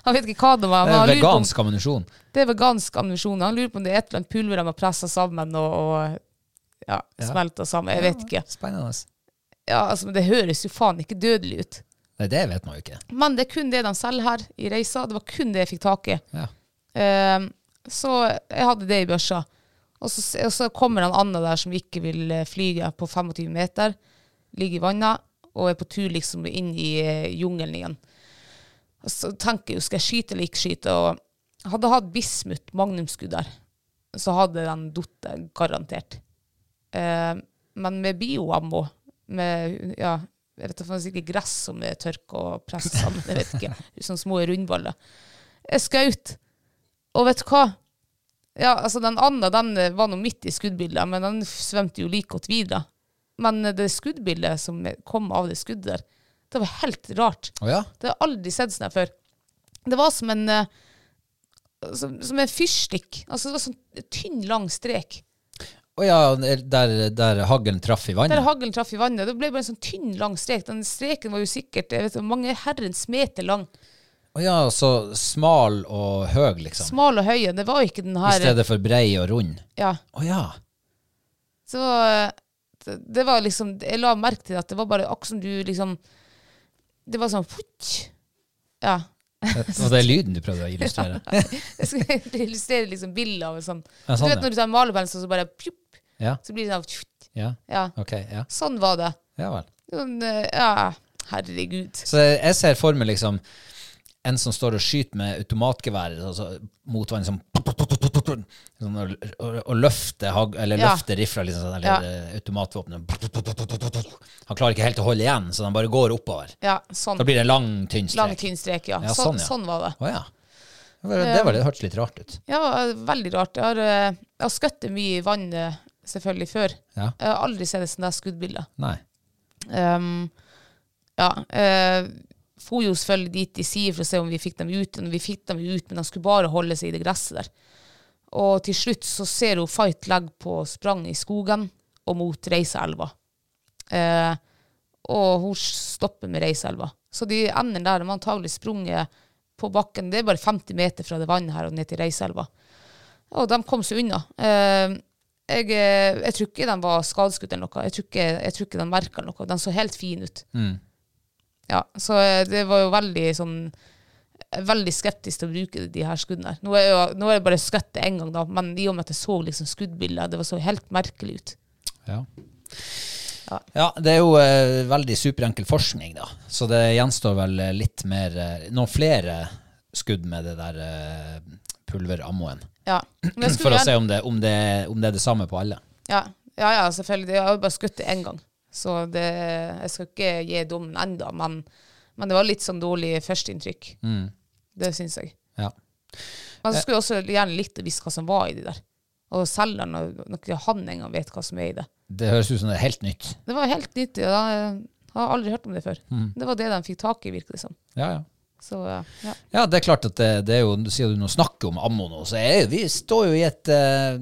han vet ikke hva det var.
Det
men
er
han lurer på om-
vegansk ammunisjon.
det er vegansk ammunisjon. Han lurer på om det er et eller annet pulver de har pressa sammen og, og ja, smelta sammen. Jeg vet ikke.
Spennende.
Ja, altså, men Det høres jo faen ikke dødelig ut.
Nei, det vet man jo ikke.
Men det er kun det de selger her i reisa. Det var kun det jeg fikk tak i.
Ja.
Ehm, så jeg hadde det i børsa. Og så, og så kommer han Anna der som ikke vil eh, flyge på 25 meter, ligger i vannet og er på tur liksom inn i eh, jungelen igjen. Og så tenker jeg jo, skal jeg skyte eller ikke skyte? Og hadde jeg hatt bismut, magnumskudd der, så hadde den datt eh, garantert. Ehm, men med bioammo, med ja, jeg vet ikke, det er sikkert gress som er tørk og presset sammen, jeg vet ikke, sånne små rundballer. Jeg skjøt. Og vet du hva? Ja, altså Den andre den eh, var nå midt i skuddbildet, men den f- svømte jo like godt videre. Men eh, det skuddbildet som kom av det skuddet der, det var helt rart.
Å ja?
Det har jeg aldri sett sånn her før. Det var som en eh, som, som en fyrstikk. Altså, det var sånn tynn, lang strek.
Å ja, der, der haglen traff i vannet?
Der haglen traff i vannet. Det ble bare en sånn tynn, lang strek. Den streken var jo sikkert jeg vet, ikke, mange herrens meter lang.
Å ja, så smal og høg, liksom.
Smal og høy. Det var ikke den
I
her
stedet for brei og rund.
ja.
Å ja.
Så eh, det, det var liksom Jeg la merke til at det var bare akkurat som du liksom Det var sånn futt. Ja.
Det var det lyden du prøvde å illustrere?
Jeg skal illustrere liksom bildet av en sånn.
Ja, sånn,
Du
ja.
vet når du tar malerpensel, så bare pjupp,
Ja.
Så blir det sånn futt.
Ja.
Ja.
Ok. Ja.
Sånn var det.
Ja vel.
Sånn, eh, ja, herregud.
Så jeg ser for meg liksom en som står og skyter med automatgevær altså, mot vannet, som sånn, og, og, og løfte, hag, eller
Ja.
løfte rifla, liksom, sånn, eller ja. automatvåpenet. Han klarer ikke helt å holde igjen, så han bare går oppover.
Ja, sånn.
Da blir det en lang, tynn strek.
Lang, tynn strek, ja.
Ja, sånn,
sånn,
ja.
sånn var det.
Å ja. Det, var, det, var, det hørtes litt rart ut.
Ja, det var veldig rart. Jeg har, eh, jeg har skøttet mye i vann eh, selvfølgelig før.
Ja.
Jeg har aldri sett et sånt der skuddbilde.
Nei.
Um, ja, eh, for jo selvfølgelig dit de sier for å se om vi fikk dem ut, og vi fikk dem ut, men de skulle bare holde seg i det gresset der. Og til slutt så ser hun Fight legge på sprang i skogen og mot Reiseelva. Eh, og hun stopper med Reiseelva. Så de ender der. De har antagelig sprunget på bakken. Det er bare 50 meter fra det vannet her og ned til Reiseelva. Og de kom seg unna. Eh, jeg, eh, jeg tror ikke de var skadeskutt eller noe. Jeg tror ikke, jeg tror ikke de merka noe. De så helt fine ut.
Mm.
Ja, så eh, det var jo veldig sånn jeg er Veldig skeptisk til å bruke de her skuddene. her. Nå er jeg, jo- nå er jeg bare skutt én gang, da, men i og med at jeg så liksom skuddbilder, det var så helt merkelig ut.
Ja.
Ja.
ja, det er jo eh, veldig superenkel forskning, da. Så det gjenstår vel eh, litt mer eh, Noen flere skudd med det der eh, pulverammoen.
Ja. Men jeg skulle
For å
gjerne-
se om det, om, det, om det er det samme på alle.
Ja, ja, ja selvfølgelig. Jeg har jo bare skutt det én gang. Så det, jeg skal ikke gi dommen ennå, men, men det var litt sånn dårlig førsteinntrykk.
Mm.
Det syns jeg.
Ja.
Men så Altså, skulle jeg også gjerne likt å vise hva som var i de der. Og selgeren, og når ikke han engang vet hva som er i det.
Det høres ut som det er helt nytt.
Det var helt nyttig. og da- Jeg har aldri hørt om det før. Det var det de fikk tak i, virker det som.
Ja, ja.
Så eh, ja.
Ja, det er klart at det, det er jo, sier du nå snakker om ammo nå, så er jo, vi står jo i et, eh,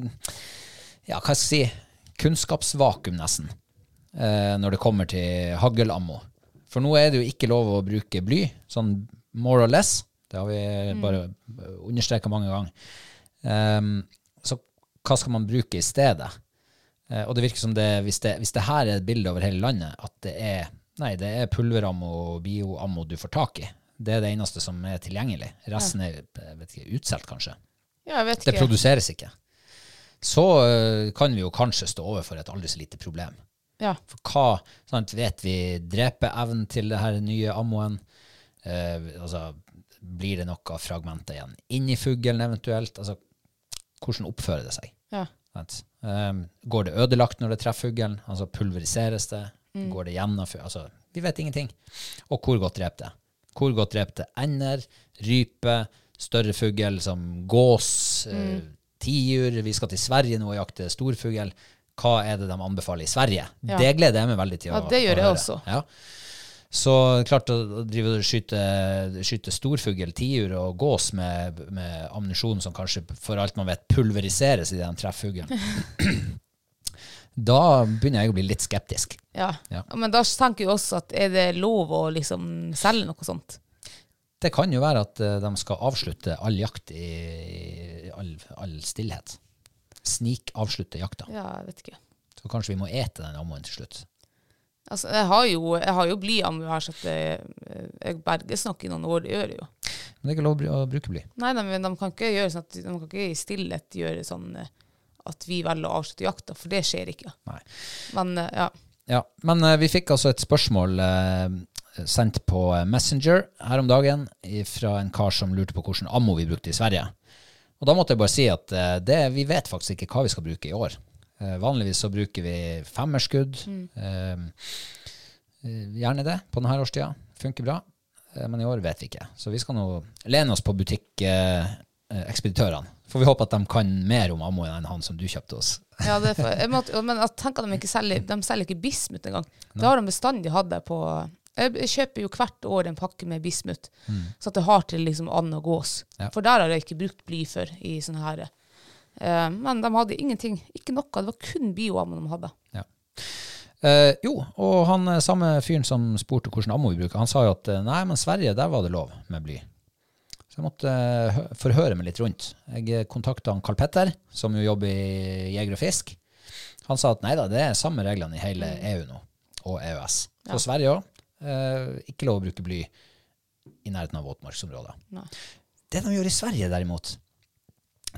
ja, hva skal jeg si, kunnskapsvakuum nesten, eh, når det kommer til haggelammo. For nå er det jo ikke lov å bruke bly, sånn more or less, det har vi bare understreket mange ganger. Ehm, så hva skal man bruke i stedet? Eh, og det virker som det, hvis det, hvis det her er et bilde over hele landet, at det er, nei, det er pulverammo og bioammo du får tak i. Det er det eneste som er tilgjengelig. Resten er jeg vet ikke, utsolgt, kanskje.
ja, jeg vet
Det
ikke.
produseres ikke. Så eh, kan vi jo kanskje stå overfor et aldri så lite problem.
Ja.
For hva sant, vet vi drepeevnen til det her nye ammoen? Eh, altså, blir det noe fragmenter igjen inni fuglen eventuelt? Altså, hvordan oppfører det seg?
Ja.
Sant? Ehm, går det ødelagt når det treffer fuglen? Altså pulveriseres det?
Mm.
Går det gjennom fu- Altså, vi vet ingenting. Og hvor godt drept det? Hvor godt drept det ender, rype, større fugl som gås, eh,
Mm.
tiur Vi skal til Sverige nå og jakte storfugl. Hva er det de anbefaler i Sverige?
Ja.
Det gleder jeg meg veldig til å
Ja, det gjør
å
jeg
høre.
også.
Ja. Så klart å å drive og skyte, skyte storfugl, tiur og gås med, med ammunisjon som kanskje for alt man vet pulveriseres i den trefffuglen da begynner jeg å bli litt skeptisk.
Ja.
Ja.
Men da tenker jeg også at er det lov å liksom selge noe sånt?
Det kan jo være at eh, de skal avslutte all jakt i, i all, all stillhet. Snikavslutte jakta.
Ja, jeg vet ikke.
Så kanskje vi må ete den ammoen til slutt.
Altså, jeg har jo, jeg har jo blyammo her, så at jeg, jeg berges nok i noen år. Det gjør jeg jo.
Men det er ikke lov å bru- å bruke bly.
Nei, nei, men de kan ikke gjøre sånn at de kan ikke i stillhet gjøre sånn eh, at vi velger å avslutte jakta, for det skjer ikke.
Nei.
Men eh, ja.
Ja, men eh, vi fikk altså et spørsmål eh, sendt på Messenger her om dagen fra en kar som lurte på hvordan ammo vi brukte i Sverige. Og da måtte jeg bare si at eh, det, vi vet faktisk ikke hva vi skal bruke i år. Eh, vanligvis så bruker vi femmerskudd. eh, eh, gjerne det på denne årstida. Funker bra. Eh, men i år vet vi ikke. Så vi skal nå lene oss på butikkekspeditørene. Får vi håpe at de kan mer om ammoen enn han som du kjøpte oss.
ja det er for, jeg måtte, men jeg tenker at de ikke selger, de selger ikke bismut engang. Det har de bestandig hatt der på eh, jeg b- kjøper jo hvert år en pakke med bismut, så at jeg har til liksom and og gås.
Mm. Ja.
For der har jeg ikke brukt bly før. i sånne her. eh, men de hadde ingenting. Ikke noe. Det var kun bioammo de hadde.
Ja. Eh, jo, og han eh, samme fyren som spurte hvordan ammo vi bruker, han sa jo at eh, nei, men Sverige, der var det lov med bly. Så jeg måtte eh, hø- forhøre meg litt rundt. Jeg kontakta Karl Petter, som jo jobber i Jeger og Fisk. Han sa at nei da, det er samme reglene i hele EU nå, og E EØS. Så Sverige òg. ikke lov å bruke bly i nærheten av våtmarksområder.
Nei.
Det de gjør i Sverige, derimot,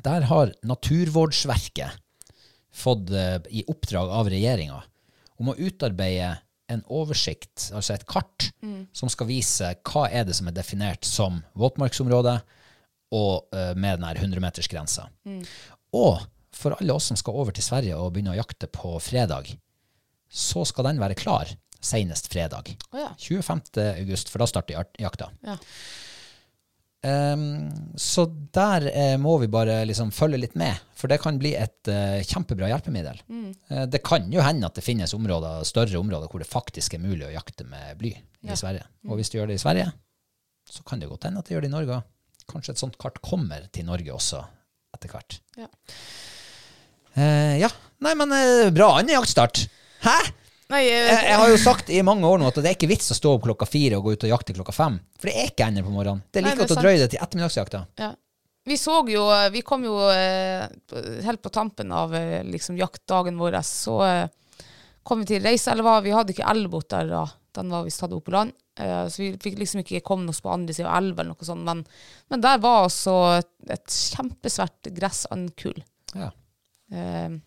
der har Naturvårdsverket fått eh, i oppdrag av regjeringa om å utarbeide en oversikt, altså
Mm.
et kart, som skal vise hva er det som er definert som våtmarksområde, og eh, med den her 100-metersgrensa.
Mm.
Og for alle oss som skal over til Sverige og begynne å jakte på fredag, så skal den være klar senest fredag.
Å ja.
25. august, for da starter jak- jakta.
Ja.
Ehm, så der eh, må vi bare liksom følge litt med, for det kan bli et eh, kjempebra hjelpemiddel. Eh, det kan jo hende at det finnes områder, større områder hvor det faktisk er mulig å jakte med bly i Sverige. Og hvis du gjør det i Sverige, så kan det godt hende at det gjør det i Norge òg. Kanskje et sånt kart kommer til Norge også etter hvert.
Ja.
Eh, ja. Nei, men eh, bra annen jaktstart. Hæ?
Nei,
Jeg,
eh,
jeg har jo sagt i mange år nå at det er ikke vits å stå opp klokka fire og gå ut og jakte klokka fem. For det er ikke ender på morgenen. Det er
Nei,
like
det er
godt å drøye det til ettermiddagsjakta.
ja. Vi så jo eh, Vi kom jo eh, på- helt på tampen av eh, liksom, jaktdagen vår, så eh, kom vi til Reiselva. Vi hadde ikke elbåt der da. Den var visst tatt opp på land. Eh, så vi fikk liksom ikke kommet oss på andre siden av elva eller noe sånt. Men, men der var altså et, et kjempesvært gressandkull.
Ja.
Eh,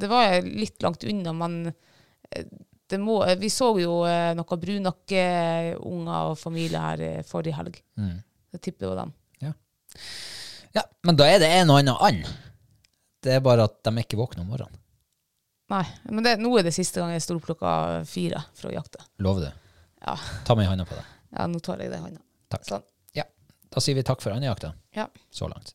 det var litt langt unna, men eh, det må, vi så jo eh, noen brunakkeunger og familie her eh, forrige helg. Jeg tipper det var dem.
Ja. ja, men da er det en og annen and. Det er bare at de er ikke våkne om morgenen.
Nei, men det, nå er det siste gang jeg står opp klokka fire for å jakte.
Lover du?
Ja,
Ta meg i handa på det.
ja nå tar jeg det i hånda.
Takk.
Sånn.
Ja. Da sier vi takk for andejakta
Ja.
så langt.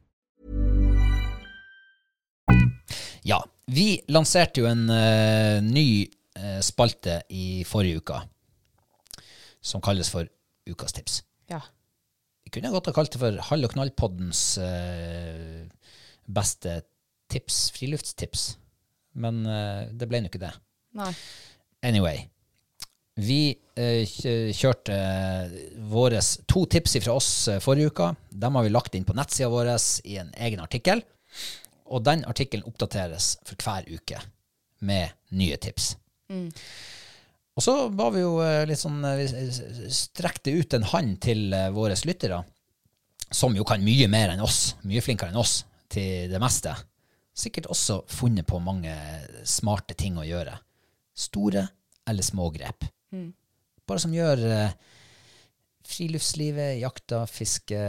Ja. Vi lanserte jo en eh, ny eh, spalte i forrige uke som kalles for Ukas tips.
ja.
Vi kunne godt ha kalt det for Hall og knall-poddens eh, beste tips, friluftstips. Men eh, det ble nå ikke det.
Nei.
Anyway. Vi eh, kjø- kjørte våres to tips fra oss eh, forrige uke. Dem har vi lagt inn på nettsida vår i en egen artikkel. Og den artikkelen oppdateres for hver uke med nye tips. Og så var vi jo eh, litt sånn eh, Vi s- s- strekte ut en hand til eh, våre lyttere, som jo kan mye mer enn oss, mye flinkere enn oss til det meste. Sikkert også funnet på mange smarte ting å gjøre. Store eller små grep. Bare som gjør eh, friluftslivet, jakta, fiske,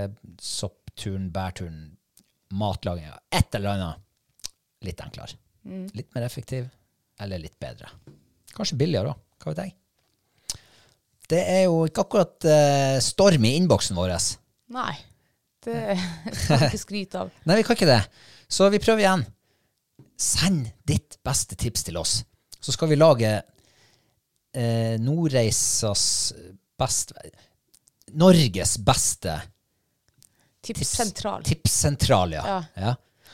soppturen, bærturen, matlaginga, et eller annet litt enklere. Litt mer effektiv, eller litt bedre. Kanskje billigere òg, hva vet jeg. Det er jo ikke akkurat eh, storm i innboksen vår.
Nei. Det kan jeg ikke skryte av.
Nei, vi kan ikke det. Så vi prøver igjen. Send ditt beste tips til oss. Så skal vi lage eh, Nordreisas best Norges beste
Tipssentral.
tipssentral, ja.
Ja.
ja.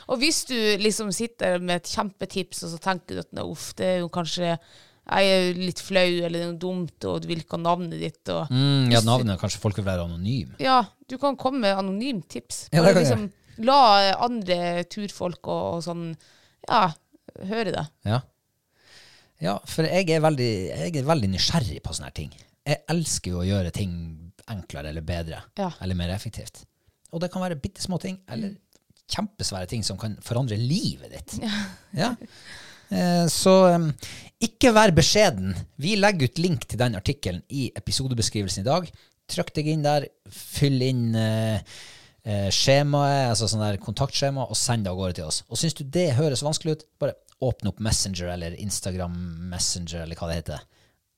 Og hvis du liksom sitter med et kjempetips, og så tenker du at «Nå, uff, det er jo kanskje jeg er jo litt flau, eller det er noe dumt, og du vil ikke ha navnet ditt. Og,
Mm, ja, navnet. Kanskje folk vil være anonyme.
Ja, du kan komme med anonymt tips.
Ja, det
Bare
kan jeg
liksom, la eh, andre turfolk og, og sånn ja, høre det.
Ja. ja, for jeg er veldig, jeg er veldig nysgjerrig på sånne her ting. Jeg elsker jo å gjøre ting enklere eller bedre.
Ja.
Eller mer effektivt. Og det kan være bitte små ting, eller kjempesvære ting som kan forandre livet ditt. Ja. Eh, Så em, ikke vær beskjeden. Vi legger ut link til den artikkelen i episodebeskrivelsen i dag. Trykk deg inn der, fyll inn eh, eh, skjemaet, altså sånn der kontaktskjema, og send det av gårde til oss. Og syns du det høres vanskelig ut, bare åpne opp Messenger eller Instagram Messenger eller hva det heter,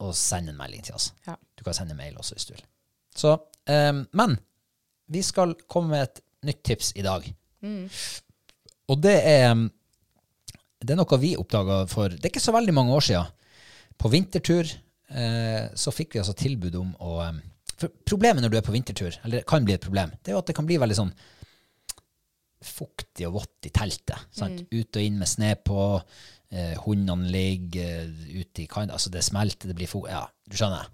og send en melding til oss.
Ja.
Du kan sende mail også hvis du vil. Så, eh, men vi skal komme med et nytt tips i dag. Og det er, det er noe vi oppdaga for Det er ikke så veldig mange år sia. På vintertur eh, så fikk vi altså tilbud om å eh, for Problemet når du er på vintertur, eller det kan bli et problem, det er jo at det kan bli veldig sånn fuktig og vått i teltet. Sant? Ut og inn med sne på, eh, hundene ligger eh, ute i kanten, altså det smelter, det blir fuktig. Ja, du skjønner.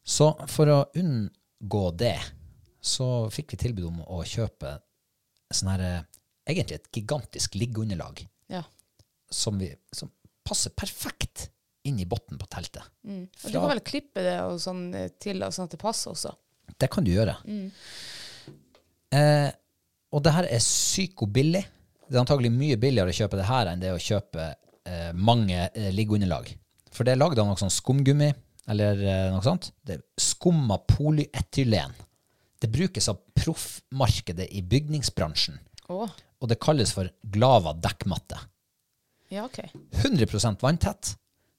Så for å unngå det, så fikk vi tilbud om å kjøpe sånn her eh, Egentlig et gigantisk liggeunderlag
Ja.
som, vi, som passer perfekt inn i bunnen på teltet.
Og du kan vel klippe det og sånn eh, til, og sånn at det passer også.
Det kan du gjøre. Eh, og det her er psykobillig. Det er antagelig mye billigere å kjøpe det her enn det å kjøpe eh, mange eh, liggeunderlag. For det er lagd av noe sånn skumgummi eller eh, noe sånt. Det er skumma polyetylen. Det brukes av proffmarkedet i bygningsbransjen,
Å,
og det kalles for glava dekkmatte.
ja, ok.
100 vanntett.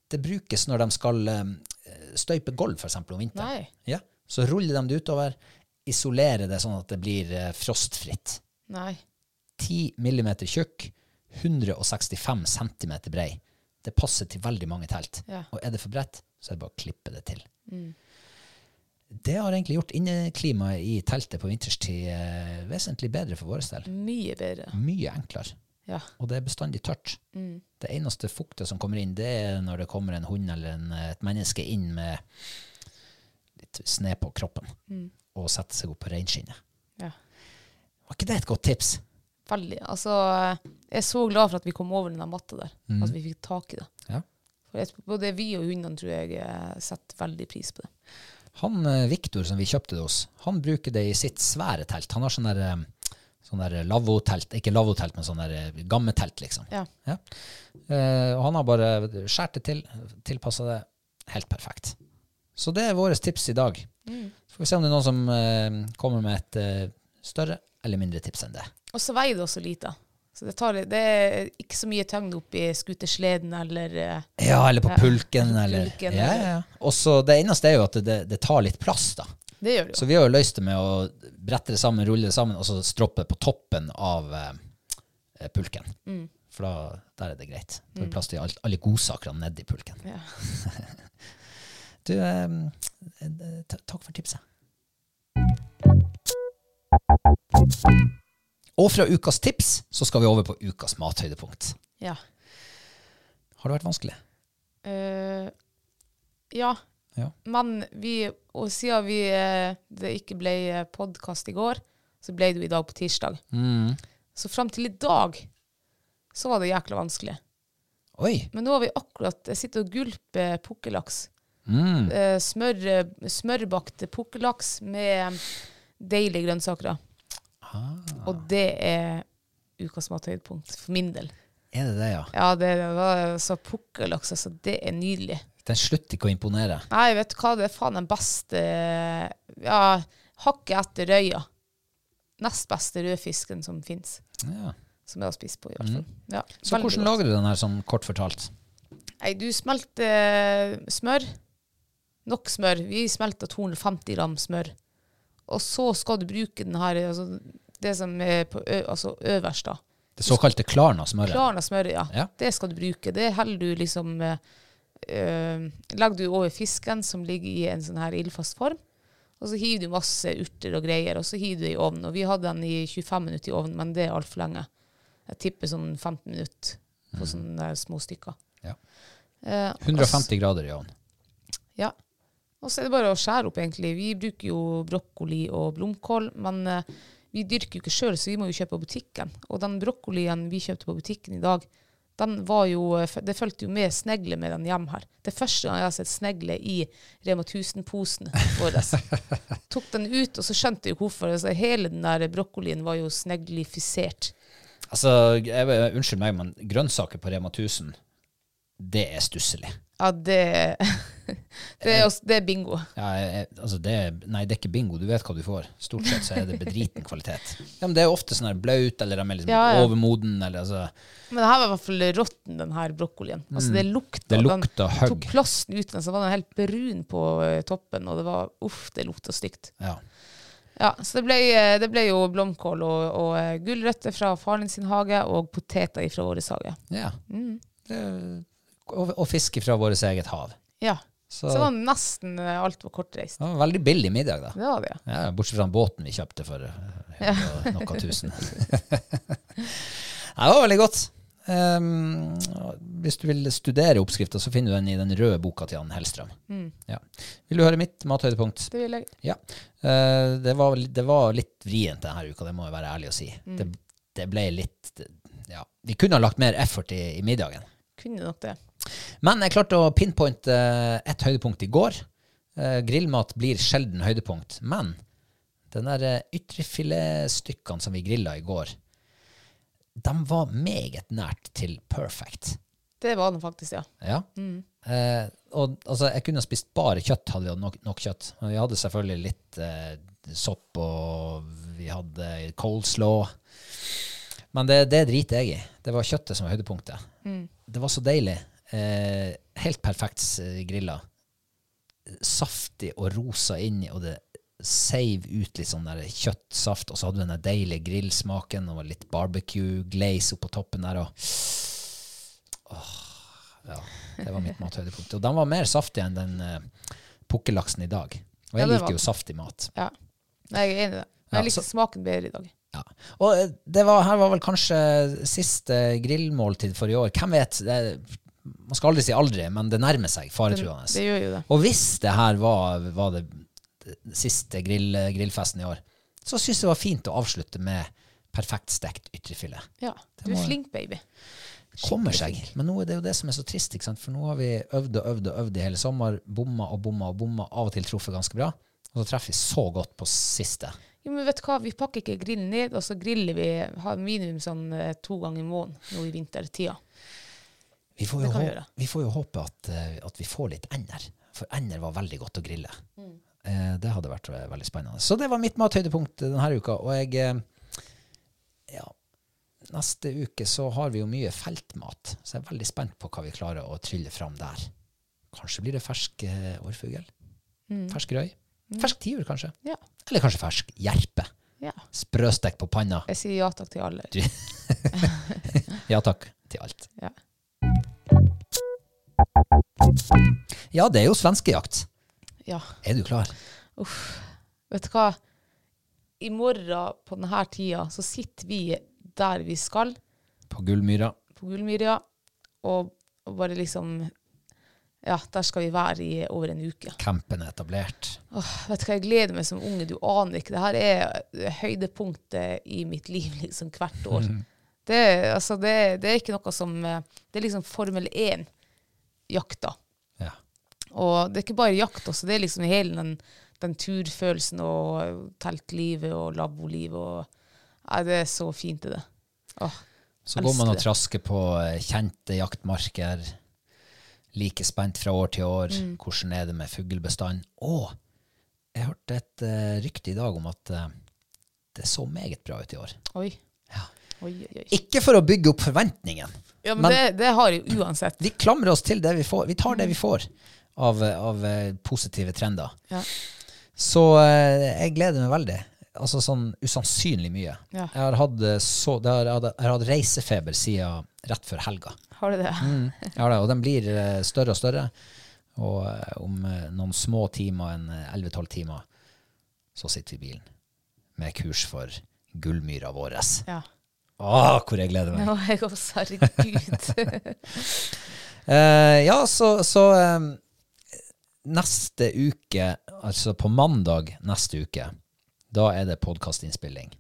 Det brukes når de skal eh, støype gulv, f.eks. om vinteren.
Nei.
Ja. Så ruller de det utover, isolerer det sånn at det blir eh, frostfritt.
Nei.
10 mm tjukk, 165 cm brei. Det passer til veldig mange telt.
Ja. Mm.
Og er det for bredt, så er det bare å klippe det til. Det har egentlig gjort inneklimaet i teltet på vinterstid eh, vesentlig bedre for vår del.
Mye bedre.
Mye enklere
Ja.
og det er bestandig tørt. Det eneste fuktet som kommer inn, det er når det kommer en hund eller en, et menneske inn med litt sne på kroppen og setter seg opp på reinskinnet.
ja.
Var ikke det et godt tips?
Veldig. Altså, eh, jeg er så glad for at vi kom over den der matta der. At vi fikk tak i det.
Ja.
For jeg, både vi og hundene tror jeg eh, setter veldig pris på det.
Han eh, Viktor som vi kjøpte det hos, han bruker det i sitt svære telt. Han har sånn der, eh, sånn der lavvotelt, ikke lavvotelt, men sånn der eh, gammetelt, liksom.
Ja.
Ja. Eh, og han har bare skåret det til, tilpassa det helt perfekt. Så det er våre tips i dag.
Mm.
Så får vi se om det er noen som eh, kommer med et eh, større eller mindre tips enn det.
Og så veier det også lite. Så det, tar, det er ikke så mye tyngde oppi skutersleden eller eh,
Ja, eller på
Ja.
pulken, eller
Pulken,
ja, ja,
eller-
ja. Og så det eneste er jo at det, det tar litt plass, da.
Det gjør det jo.
Så vi har jo løst det med å brette det sammen, rulle det sammen, og så stroppe på toppen av eh, eh, pulken.
Mm.
For da der er det greit. Da har vi plass til alt, alle godsakene nedi pulken.
Ja.
Du, ehm, eh, ta- takk for tipset. Og fra ukas tips så skal vi over på ukas mathøydepunkt.
Ja.
Har det vært vanskelig?
Eh, ja.
Ja.
Men vi, og siden vi, eh, det ikke ble podkast i går, så ble det jo i dag på tirsdag. Så fram til i dag så var det jækla vanskelig.
Oi!
Men nå har vi akkurat Jeg sitter og gulper pukkellaks. Eh, smør, smørbakt pukkellaks med eh, deilige grønnsaker. Og det er ukas mathøydepunkt for min del.
Er det det, ja?
Ja, det var så pukkellaks, altså. Det er nydelig.
Den slutter ikke å imponere.
Nei, vet du hva, det er faen den beste Ja, hakket etter røya. Nest beste rødfisken som fins.
Ja.
Som jeg har spist på, i hvert fall. Ja,
Mhm. Så
veldig
hvordan
godt.
lager du den her, sånn kort fortalt?
Nei, du smelter eh, smør. Nok smør. Vi smelter 250 gram smør. Og så skal du bruke den her, altså, det som er på ø altså øverst, da.
Det såkalte Klarna-smøret?
Klarna smøret, ja.
Ja.
Det skal du bruke. Det heller du liksom eh, eh, Legger du over fisken som ligger i en sånn her ildfast form. Og så hiver du masse urter og greier, og så hiver du det i ovnen. Og vi hadde den i 25 minutter i ovnen, men det er altfor lenge. Jeg tipper sånn 15 minutter på sånne der små stykker.
Ja.
Eh, Mm. og s-
150 grader i ovnen.
ja. Og så er det bare å skjære opp, egentlig. Vi bruker jo brokkoli og blomkål, men eh, vi dyrker jo ikke sjøl, så vi må jo kjøpe på butikken. Og den brokkolien vi kjøpte på butikken i dag, den var jo, eh, f- det fulgte jo med snegle med den hjem her. Det er første gang jeg har sett snegle i Rema 1000-posen vår. Tok den ut, og så skjønte jeg jo hvorfor. Altså, hele den der brokkolien var jo sneglifisert.
Altså, jeg, jeg- unnskyld meg, men grønnsaker på Rema 1000, det er stusselig.
Ja, det Det er, også, det er bingo.
Ja, jeg- altså det, nei, det er ikke bingo. Du vet hva du får. Stort sett så er det bedriten kvalitet. Ja, men Det er jo ofte sånn her blaut, eller de er liksom
Ja, ja.
overmoden, eller altså
Men det her var i hvert fall råtten, den her brokkolien. Altså, det lukta.
Mm. Det lukta
den
hugg.
tok plasten ut, men så var den helt brun på eh, toppen, og det var uff, det lukta stygt.
Ja.
Ja, så det ble, eh, det ble jo blomkål og, og eh, gulrøtter fra faren sin hage, og poteter fra vår hage.
ja.
Mm.
Det, og, og fiske fra vårt eget hav.
Ja.
Så,
Så det var nesten eh, alt var kortreist.
det var en veldig billig middag, da.
Det var det, ja.
Ja, bortsett fra den båten vi kjøpte for ja. noe tusen. Nei, det var veldig godt. Ehm, hvis du vil studere oppskrifta, så finner du den i den røde boka til Jan Hellstrøm. Ja. Vil du høre mitt mathøydepunkt?
Det vil jeg.
Ja. Eh, det, var, vel- det var litt vrient denne uka, det må jeg være ærlig å si. Det, det ble litt det- Ja. Vi kunne ha lagt mer effort i, i middagen.
Kunne nok det.
Men jeg klarte å pinpointe eh, ett høydepunkt i går. Eh, Grillmat blir sjelden høydepunkt. Men den der eh, ytrefiletstykkene som vi grilla i går, de var meget nært til perfect.
Det var den faktisk, ja.
Ja. Eh, og altså, jeg kunne ha spist bare kjøtt, hadde vi hatt nok, nok kjøtt. Men vi hadde selvfølgelig litt eh, sopp, og vi hadde coleslaw. Men det, det driter jeg i. Det var kjøttet som var høydepunktet.
Mm.
Det var så deilig. Eh, helt perfekt eh, grilla. Saftig og rosa inni, og det seiv ut litt sånn der kjøttsaft. Og så hadde du den der deilige grillsmaken og litt barbecue glaze oppå toppen der. og... Ja, det var mitt mathøydepunkt. Og den var mer saftig enn den eh, pukkellaksen i dag. Og jeg
Ja, det var
liker jo
den.
saftig mat.
ja. Nei, jeg er enig i det.
Ja,
Men jeg likte
så-
smaken bedre i dag.
Ja. Og eh, det var, her var vel kanskje siste grillmåltid for i år. Hvem vet? Det, man skal aldri si aldri, men det nærmer seg
Det,
faretruende.
det gjør jo det.
Og hvis det her var, var det det siste grill, grillfesten i år, så syns jeg det var fint å avslutte med perfekt stekt ytrefilet.
Ja. Du
må-
er flink, baby.
kommer seg. Men nå er det jo det som er så trist, ikke sant? for nå har vi øvd og øvd og øvd i hele sommer, bomma og bomma og bomma, av og til truffet ganske bra, og så treffer vi så godt på siste.
Jo, men vet du hva, vi pakker ikke grillen ned, og så griller vi har minimum sånn eh, to ganger i måneden nå i vintertida.
Vi får jo,
Det kan vi
hå-
gjøre.
vi får jo håpe at, eh, at vi får litt ender, for ender var veldig godt å grille.
Mm.
Eh, det hadde vært eh, veldig spennende. Så det var mitt mathøydepunkt denne uka, og jeg, eh, ja, neste uke så har vi jo mye feltmat, så jeg er veldig spent på hva vi klarer å trylle fram der. Kanskje blir det fersk eh, årfugl?
Mm.
Fersk røy? Fersk tiur, kanskje?
Ja.
Eller kanskje fersk jerpe?
ja.
Sprøstekt på panna.
Jeg sier ja takk til alle.
Ja takk til alt.
Ja.
Ja, det er jo svenskejakt.
ja.
Er du klar?
Vet du hva, i morgen på denne tida så sitter vi der vi skal,
På Gullmyra.
på Gullmyra, og, og bare liksom Ja, der skal vi være i over en uke.
Campen er etablert.
Åh, vet du hva, jeg gleder meg som unge, du aner ikke. Dette er høydepunktet i mitt liv liksom hvert år.
Mhm.
Det, er- altså, det, er- det er ikke noe som eh, Det er liksom Formel 1-jakta.
Ja.
Og det er ikke bare jakt også, det er liksom hele den, den turfølelsen og eh, teltlivet og labolivet og Nei, det er så fint, det. Åh,
Så går man
Elsker
og
det.
trasker på eh, kjente jaktmarker, like spent fra år til år.
Mm.
Hvordan er det med fuglebestanden? Og jeg hørte et eh, rykte i dag om at eh, det så meget bra ut i år.
oi.
Ja.
Oi, oi, oi.
Ikke for å bygge opp forventningen.
Ja, men,
men-
det, det har jeg uansett.
Vi klamrer oss til det vi får. Vi tar det vi
Mm.
får av, eh, av eh, positive trender.
Ja.
Så eh, jeg gleder meg veldig. Altså sånn usannsynlig mye.
Ja.
Jeg har hatt, eh, så, det har, jeg hadde- jeg har hatt reisefeber siden rett før helga.
Har du det?
Jeg har det, og den blir eh, større og større. Og eh, om eh, noen små timer, en eh, 11-12 timer, så sitter vi i bilen med kurs for gullmyra vår.
Ja.
Åh, hvor jeg gleder meg!
Nå er jeg også, herregud.
Eh, ja, så, så eh, neste uke, altså på mandag neste uke, da er det podkastinnspilling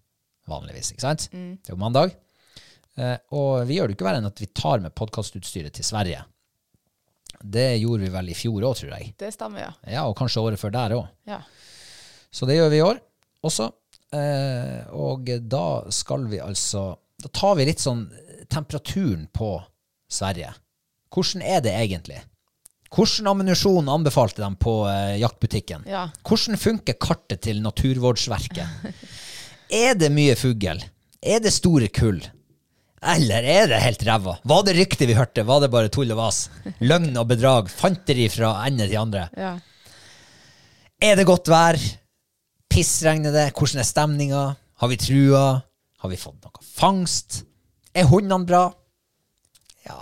vanligvis, ikke sant? Det er jo mandag. Eh, og vi gjør det jo ikke verre enn at vi tar med podkastutstyret til Sverige. Det gjorde vi vel i fjor òg, tror jeg.
Det stemmer, ja.
Ja, og kanskje året før der òg.
ja.
Så det gjør vi i år også. Eh, og da skal vi altså Da tar vi litt sånn temperaturen på Sverige. Hvordan er det egentlig? Hvordan ammunisjon anbefalte de på eh, jaktbutikken?
Ja.
Hvordan funker kartet til Naturvårdsverket? er det mye fugl? Er det store kull? Eller er det helt ræva? Var det ryktet vi hørte? Var det bare tull og vas? Løgn og bedrag? Fanteri fra ende til andre?
Ja.
Er det godt vær? Pissregner det? Hvordan er stemninga? Har vi trua? Har vi fått noe fangst? Er hundene bra? Ja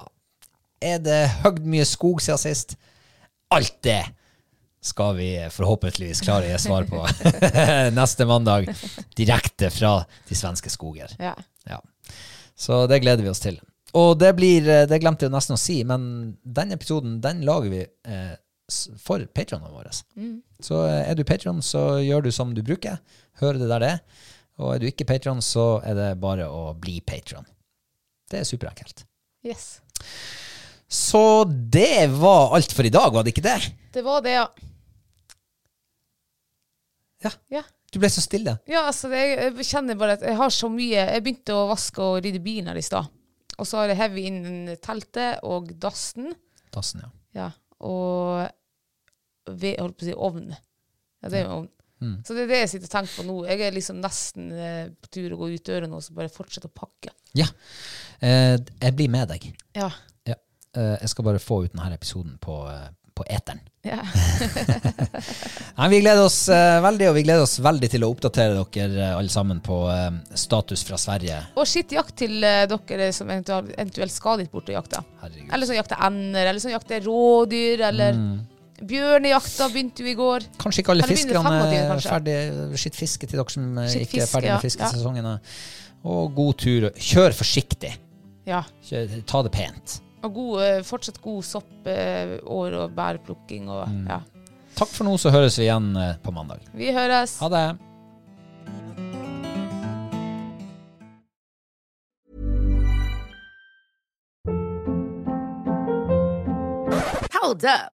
Er det høgd mye skog siden sist? Alt det skal vi forhåpentligvis klare å gi svar på neste mandag, direkte fra de svenske skoger.
ja.
Ja. Så det gleder vi oss til. Og det blir eh, Det glemte jeg nesten å si, men den episoden den lager vi eh, s- for patronene våre. Så eh, er du patron, så gjør du som du bruker. Hører det der det er. Og er du ikke patron, så er det bare å bli patron. Det er superenkelt.
Yes.
Så det var alt for i dag, var det ikke det?
Det var det, ja.
Ja.
Ja.
Du ble så stille.
Ja, altså, det, jeg kjenner bare at jeg har så mye Jeg begynte å vaske og rydde bilen her i stad. Og så har jeg hevet inn teltet og dassen.
Tassen, ja.
Ja. Og ved, jeg holdt på å si ovn. Ja, det er jo ovn. Så det er det jeg sitter og tenker på nå. Jeg er liksom nesten eh, på tur å gå ut døra nå, så bare fortsette å pakke.
Ja. Eh, jeg blir med deg.
Ja.
Ja. Eh, jeg skal bare få ut denne episoden på, eh, på eteren.
Ja.
Nei, vi gleder oss eh, veldig, og vi gleder oss veldig til å oppdatere dere eh, alle sammen på eh, status fra Sverige.
Og skitt jakt til eh, dere som eventuelt, eventuelt skal dit bort og jakte.
Herregud.
Eller som jakter ender, eller som jakter rådyr, eller Bjørnejakta begynte jo i går.
Kanskje ikke alle
Eller begynner
fiskerne
fremover,
er
kanskje.
ferdig Skitt fiske til dere som eh, ikke er
Skitt fiske,
ferdig
ja.
med fiskesesongen. eh. Og god tur. Kjør forsiktig.
Ja.
Kjør, ta det pent.
Og god, eh, fortsatt god soppår og bærplukking og ja.
Takk for nå, så høres vi igjen eh, på mandag.
Vi høres.
Ha det.
Hold up.